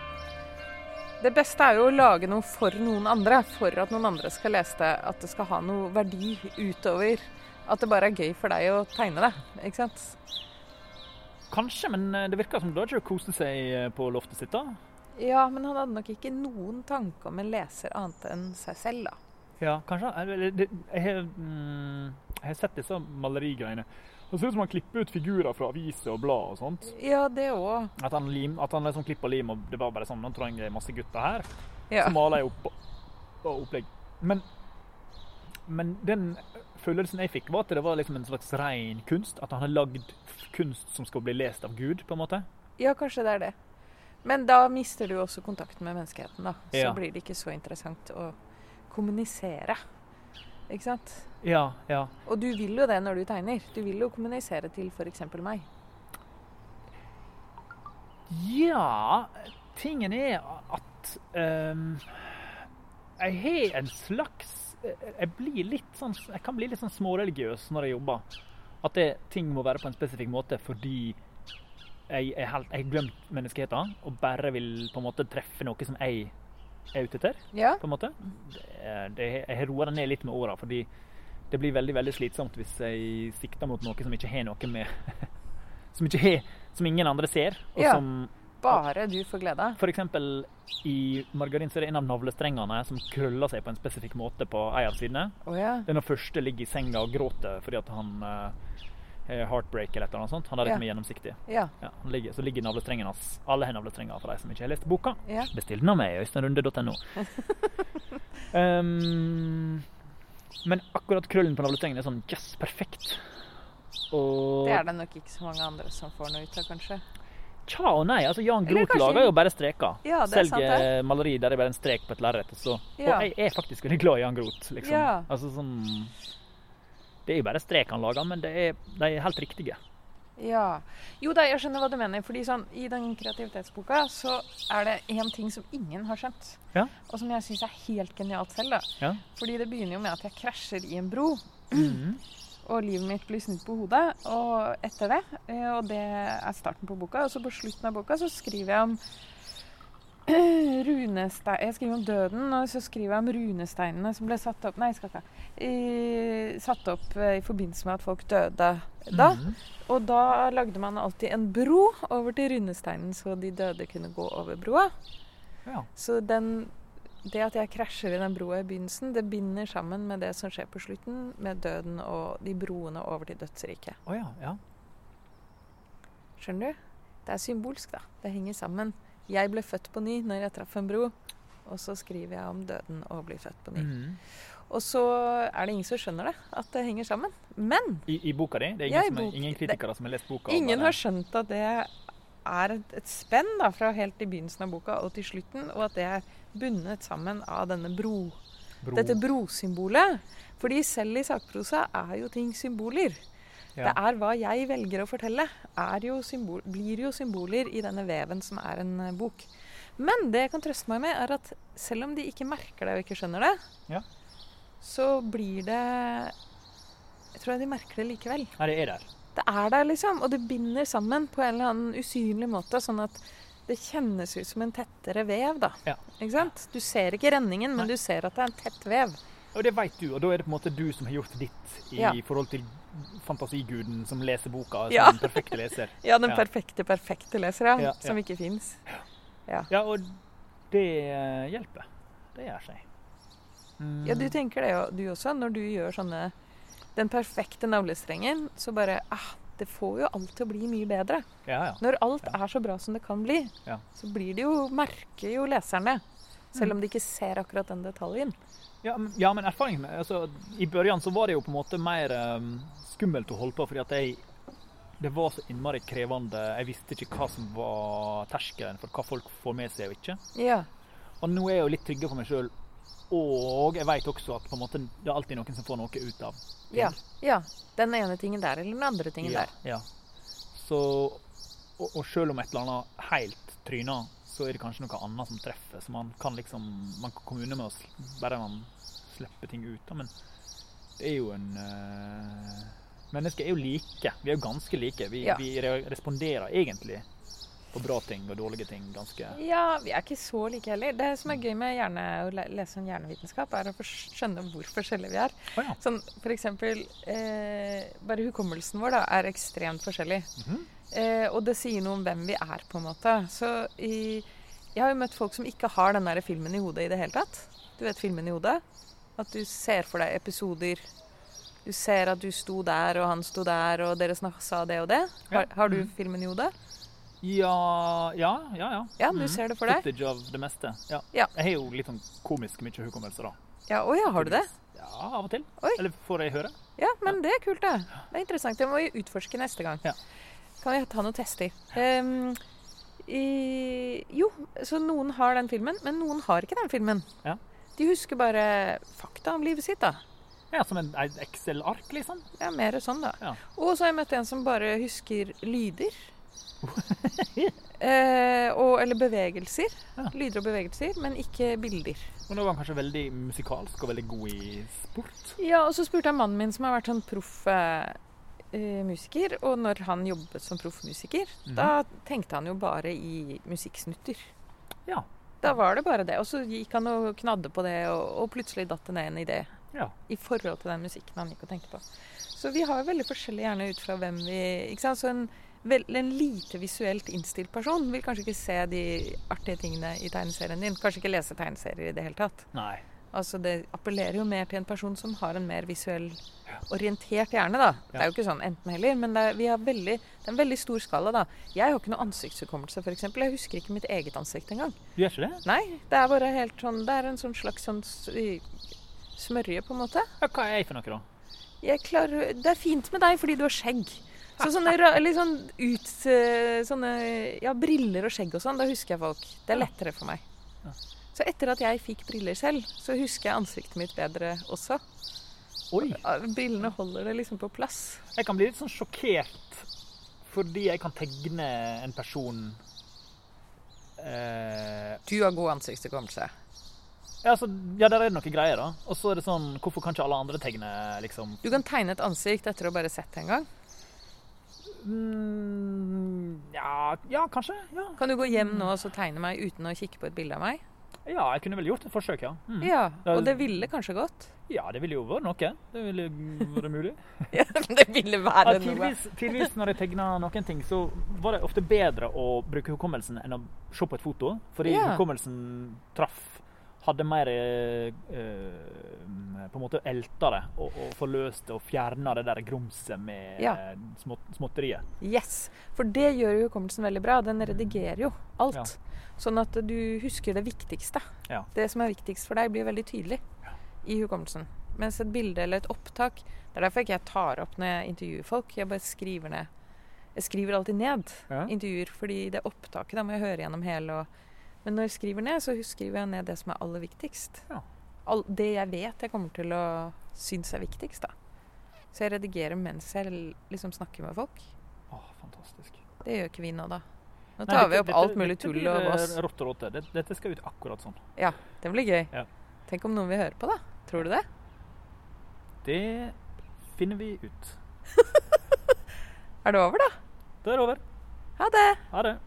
[SPEAKER 2] Det beste er jo å lage noe for noen andre, for at noen andre skal lese det. At det skal ha noe verdi utover. At det bare er gøy for deg å tegne det. Ikke sant?
[SPEAKER 1] Kanskje, men eh, det virker som Dodger koste seg eh, på loftet sitt, da.
[SPEAKER 2] Ja, men han hadde nok ikke noen tanke om en leser annet enn seg selv, da.
[SPEAKER 1] Ja, kanskje. Eller, det- Jeg har, mm, jeg har sett disse malerigreiene. Det ser ut som han klipper ut figurer fra aviser og blad og sånt.
[SPEAKER 2] Ja, det òg.
[SPEAKER 1] At han, lim, at han liksom klipper lim, og det var bare sånn, nå trenger jeg masse gutter her.
[SPEAKER 2] Ja.
[SPEAKER 1] Så maler jeg opp og opplegg. Men, men den følelsen jeg fikk, var at det var liksom en slags ren kunst. At han har lagd kunst som skal bli lest av Gud, på en måte.
[SPEAKER 2] ja, kanskje det er det. Men da mister du jo også kontakten med menneskeheten, da. Så
[SPEAKER 1] Ja.
[SPEAKER 2] blir det ikke så interessant å kommunisere. Ikke sant?
[SPEAKER 1] Ja, ja.
[SPEAKER 2] Og du vil jo det når du tegner. Du vil jo kommunisere til f.eks. meg.
[SPEAKER 1] Ja, tingen er at ehm, jeg har en slags eh, jeg, blir litt sånn, jeg kan bli litt sånn småreligiøs når jeg jobber. At det, ting må være på en spesifikk måte fordi jeg er helt- jeg har glemt menneskeheten og bare vil på en måte treffe noe som jeg er ute etter.
[SPEAKER 2] Ja.
[SPEAKER 1] på en måte. Det, det, jeg har roa det ned litt med åra, fordi det blir veldig veldig slitsomt hvis jeg sikter mot noe som ikke har noe med Som ikke har, som ingen andre ser. Og
[SPEAKER 2] Ja.
[SPEAKER 1] som
[SPEAKER 2] Bare du får glede.
[SPEAKER 1] for eksempel i margarin så er det en av navlestrengene som krøller seg på en spesifikk måte på en av sidene.
[SPEAKER 2] Å ja.
[SPEAKER 1] Den første ligger i senga og gråter fordi at han eh, har heartbreak eller et eller annet sånt. Han er
[SPEAKER 2] Ja.
[SPEAKER 1] liksom gjennomsiktig.
[SPEAKER 2] Ja.
[SPEAKER 1] Ja, han ligger, så ligger navlestrengen hans. Alle har navlestrenger for de som ikke har lest boka.
[SPEAKER 2] Ja.
[SPEAKER 1] Bestill den av meg, øystein-runde.no um, men akkurat krøllen på navlestrengen er sånn yes, perfekt. Og
[SPEAKER 2] Det er det nok ikke så mange andre som får noe ut av, kanskje.
[SPEAKER 1] tja og nei. altså Jan
[SPEAKER 2] Eller
[SPEAKER 1] Groth
[SPEAKER 2] kanskje-
[SPEAKER 1] lager jo bare streker.
[SPEAKER 2] Ja, det er sant,
[SPEAKER 1] Selger maleri der det er bare en strek på et lerret. og så-
[SPEAKER 2] Ja.
[SPEAKER 1] Og jeg er faktisk veldig glad i Jan Groth, liksom.
[SPEAKER 2] Ja.
[SPEAKER 1] Altså sånn Det er jo bare strek han lager, men det er, de er helt riktige.
[SPEAKER 2] Ja. Jo da, jeg skjønner hva du mener. Fordi sånn, I den kreativitetsboka så er det én ting som ingen har skjønt.
[SPEAKER 1] Ja.
[SPEAKER 2] Og som jeg syns er helt genialt selv. da.
[SPEAKER 1] Ja.
[SPEAKER 2] Fordi det begynner jo med at jeg krasjer i en bro.
[SPEAKER 1] Mhm.
[SPEAKER 2] Og livet mitt blir snudd på hodet og etter det. eh, Og det er starten på boka. Og så på slutten av boka så skriver jeg om runestein Jeg skriver om døden, og så skriver jeg om runesteinene som ble satt opp Nei, jeg skal ikke. eh, Satt opp eh, i forbindelse med at folk døde da.
[SPEAKER 1] Mhm.
[SPEAKER 2] Og da lagde man alltid en bro over til rundesteinen, så de døde kunne gå over broa.
[SPEAKER 1] Ja.
[SPEAKER 2] Så den, det at jeg krasjer i den broa i begynnelsen, det binder sammen med det som skjer på slutten, med døden og de broene over til dødsriket.
[SPEAKER 1] Å ja, ja.
[SPEAKER 2] Skjønner du? Det er symbolsk, da. Det henger sammen. Jeg ble født på ny når jeg traff en bro. Og så skriver jeg om døden og blir født på ny.
[SPEAKER 1] Mhm.
[SPEAKER 2] Og så er det ingen som skjønner det, at det henger sammen. Men
[SPEAKER 1] I, I boka di? Det er
[SPEAKER 2] Ja, i
[SPEAKER 1] ingen, som,
[SPEAKER 2] bok-
[SPEAKER 1] ingen kritikere som har lest boka? og
[SPEAKER 2] Ingen
[SPEAKER 1] bare-
[SPEAKER 2] har skjønt at det er et, et spenn da, fra helt i begynnelsen av boka og til slutten, og at det er bundet sammen av denne bro,
[SPEAKER 1] Bro.
[SPEAKER 2] dette brosymbolet. Fordi selv i sakprosa er jo ting symboler.
[SPEAKER 1] Ja.
[SPEAKER 2] Det er hva jeg velger å fortelle, er jo symbol, blir jo symboler i denne veven som er en eh, bok. Men det jeg kan trøste meg med, er at selv om de ikke merker det og ikke skjønner det,
[SPEAKER 1] Ja.
[SPEAKER 2] så blir det Jeg tror de merker det likevel.
[SPEAKER 1] Nei, det er der.
[SPEAKER 2] Det er der, liksom. Og det binder sammen på en eller annen usynlig måte, sånn at det kjennes ut som en tettere vev, da.
[SPEAKER 1] Ja.
[SPEAKER 2] Ikke sant? Du ser ikke renningen, men du ser at det er en tett vev.
[SPEAKER 1] Og det vet du, og da er det på en måte du som har gjort ditt i
[SPEAKER 2] Ja.
[SPEAKER 1] forhold til fantasiguden som leser boka, som
[SPEAKER 2] Ja.
[SPEAKER 1] den perfekte leser.
[SPEAKER 2] Ja, den
[SPEAKER 1] Ja.
[SPEAKER 2] perfekte, perfekte leser, ja.
[SPEAKER 1] Ja,
[SPEAKER 2] Som ikke fins.
[SPEAKER 1] Ja, og det eh, hjelper. Det gjør seg. Mm.
[SPEAKER 2] Ja, du tenker det jo, du også, når du gjør sånne Den perfekte navlestrengen, så bare ah, det får jo alt til å bli mye bedre.
[SPEAKER 1] Ja, ja.
[SPEAKER 2] Når alt
[SPEAKER 1] Ja.
[SPEAKER 2] er så bra som det kan bli,
[SPEAKER 1] Ja.
[SPEAKER 2] så blir det jo Merker jo leserne.
[SPEAKER 1] Mm.
[SPEAKER 2] Selv om de ikke ser akkurat den detaljen.
[SPEAKER 1] Ja, men- ja, men erfaringen med altså, I børjan så var det jo på en måte mer eh, skummelt å holde på, fordi at jeg det var så innmari krevende. Jeg visste ikke hva som var terskelen for hva folk får med seg og ikke.
[SPEAKER 2] Ja.
[SPEAKER 1] Og nå er jeg jo litt tryggere på meg sjøl. Og jeg veit også at på en måte, det er alltid noen som får noe ut av ting.
[SPEAKER 2] Ja, ja. Den ene tingen der eller den andre tingen
[SPEAKER 1] ja,
[SPEAKER 2] der.
[SPEAKER 1] ja. Så, og, og selv om et eller annet helt tryner, så er det kanskje noe annet som treffer. Så man kan liksom Man kan komme unna med å sl- bare man slipper ting ut. Da. Men det er jo en eh, Mennesker er jo like. Vi er jo ganske like. Vi,
[SPEAKER 2] Ja.
[SPEAKER 1] vi re- responderer egentlig på bra ting og dårlige ting ganske
[SPEAKER 2] Ja, vi er ikke så like heller. Det som er gøy med hjerne, å le- lese om hjernevitenskap, er å for- skjønne hvor forskjellige vi er.
[SPEAKER 1] Å ja.
[SPEAKER 2] Sånn for eksempel eh, Bare hukommelsen vår da, er ekstremt forskjellig.
[SPEAKER 1] Mhm.
[SPEAKER 2] eh, og det sier noe om hvem vi er, på en måte. Så i, jeg har jo møtt folk som ikke har den der filmen i hodet i det hele tatt. Du vet filmen i hodet? At du ser for deg episoder. Du ser at du sto der, og han sto der, og dere snak- sa det og det. Har,
[SPEAKER 1] Ja.
[SPEAKER 2] har du
[SPEAKER 1] Mhm.
[SPEAKER 2] filmen i hodet?
[SPEAKER 1] ja, ja, ja. ja.
[SPEAKER 2] Ja, du
[SPEAKER 1] Mhm.
[SPEAKER 2] ser det for deg.
[SPEAKER 1] Footage av det meste. Ja.
[SPEAKER 2] Ja.
[SPEAKER 1] Jeg har jo litt sånn komisk mye hukommelse, da.
[SPEAKER 2] Ja, å ja, har du det?
[SPEAKER 1] Ja, av og til.
[SPEAKER 2] Oi.
[SPEAKER 1] Eller får jeg høre?
[SPEAKER 2] Ja, men det er kult, da. Det er interessant. Det må vi utforske neste gang.
[SPEAKER 1] Ja.
[SPEAKER 2] Kan vi ta noen tester? Ehm, i, jo, så noen har den filmen, men noen har ikke den filmen.
[SPEAKER 1] Ja.
[SPEAKER 2] De husker bare fakta om livet sitt, da.
[SPEAKER 1] Ja, som en et Excel-ark, liksom.
[SPEAKER 2] Ja, mer sånn, da.
[SPEAKER 1] Ja.
[SPEAKER 2] Og så har jeg møtt en som bare husker lyder. eh, og, eller bevegelser.
[SPEAKER 1] Ja.
[SPEAKER 2] Lyder og bevegelser, men ikke bilder.
[SPEAKER 1] Men nå var han kanskje veldig musikalsk og veldig god i sport.
[SPEAKER 2] Ja, og så spurte jeg mannen min som har vært sånn proff eh, musiker, og når han jobbet som proffmusiker,
[SPEAKER 1] Mhm.
[SPEAKER 2] da tenkte han jo bare i musikksnutter.
[SPEAKER 1] Ja.
[SPEAKER 2] Da var det bare det. Og så gikk han og knadde på det, og, og plutselig datt det ned en idé
[SPEAKER 1] Ja.
[SPEAKER 2] i forhold til den musikken han gikk og tenkte på. Så vi har jo veldig forskjellig hjerne ut fra hvem vi ikke sant? Så en, vel, en lite visuelt innstilt person vil kanskje ikke se de artige tingene i tegneserien din. Kanskje ikke lese tegneserier i det hele tatt.
[SPEAKER 1] Nei.
[SPEAKER 2] Altså Det appellerer jo mer til en person som har en mer visuell orientert hjerne. da. Det er jo ikke sånn enten-heller, men det er, vi har veldig, det er en veldig stor skala. da. Jeg har ikke noe ansiktshukommelse, f.eks. Jeg husker ikke mitt eget ansikt engang.
[SPEAKER 1] Du gjør ikke det?
[SPEAKER 2] Nei, det er bare helt sånn, det er en sånn slags sånn s- i- smørje, på en måte.
[SPEAKER 1] Ja, hva er jeg for noe, da?
[SPEAKER 2] Jeg klarer, det er fint med deg fordi du har skjegg. Så sånne, ra- eller sånn ut, eh, sånne ja, briller og skjegg og sånn, da husker jeg folk. Det er lettere for meg.
[SPEAKER 1] Ja.
[SPEAKER 2] Så etter at jeg fikk briller selv, så husker jeg ansiktet mitt bedre også.
[SPEAKER 1] Oi.
[SPEAKER 2] Ja, Brillene holder det liksom på plass.
[SPEAKER 1] Jeg kan bli litt sånn sjokkert fordi jeg kan tegne en person eh,
[SPEAKER 2] Du har god ansiktshukommelse.
[SPEAKER 1] Ja, så, ja, der er det noen greier, da. Og så er det sånn Hvorfor kan ikke alle andre tegne, liksom?
[SPEAKER 2] Du kan tegne et ansikt etter å bare sett det en gang.
[SPEAKER 1] Mm, ja, ja, kanskje. Ja.
[SPEAKER 2] Kan du gå hjem nå og så tegne meg uten å kikke på et bilde av meg?
[SPEAKER 1] ja, jeg kunne vel gjort et forsøk, ja. Mm.
[SPEAKER 2] Ja, og det ville kanskje gått.
[SPEAKER 1] Ja, det ville jo vært noe. Det ville vært mulig.
[SPEAKER 2] Ja, det ville
[SPEAKER 1] Ja,
[SPEAKER 2] være noe.
[SPEAKER 1] tidvis, tidvis når jeg tegna noen ting, så var det ofte bedre å bruke hukommelsen enn å se på et foto. Fordi
[SPEAKER 2] Ja.
[SPEAKER 1] hukommelsen traff. Hadde mer eh, eh, på en måte elta det og, og forløst og fjerna det der grumset med
[SPEAKER 2] Ja.
[SPEAKER 1] eh, smått, småtteriet.
[SPEAKER 2] Yes, for det gjør jo hukommelsen veldig bra. Den redigerer jo alt. Sånn at du husker det viktigste.
[SPEAKER 1] Ja.
[SPEAKER 2] Det som er viktigst for deg, blir veldig tydelig i hukommelsen. Mens et bilde eller et opptak Det er derfor ikke jeg tar opp når jeg intervjuer folk. Jeg bare skriver ned. Jeg skriver alltid ned
[SPEAKER 1] Ja.
[SPEAKER 2] intervjuer, fordi det opptaket da må jeg høre gjennom hele. Og, men når jeg skriver ned, så skriver jeg ned det som er aller viktigst.
[SPEAKER 1] Ja.
[SPEAKER 2] All, det jeg vet jeg kommer til å synes er viktigst, da. Så jeg redigerer mens jeg l- liksom snakker med folk.
[SPEAKER 1] Å, fantastisk.
[SPEAKER 2] Det gjør ikke vi nå, da. Nå tar vi opp alt mulig tull og vås.
[SPEAKER 1] eh, Rått og råte. Dette, dette skal ut akkurat sånn.
[SPEAKER 2] Det blir gøy.
[SPEAKER 1] Ja.
[SPEAKER 2] Tenk om noen vil høre på, da. Tror du det?
[SPEAKER 1] Det finner vi ut.
[SPEAKER 2] Er det over, da?
[SPEAKER 1] Da er det over.
[SPEAKER 2] Ha det!
[SPEAKER 1] Ha det.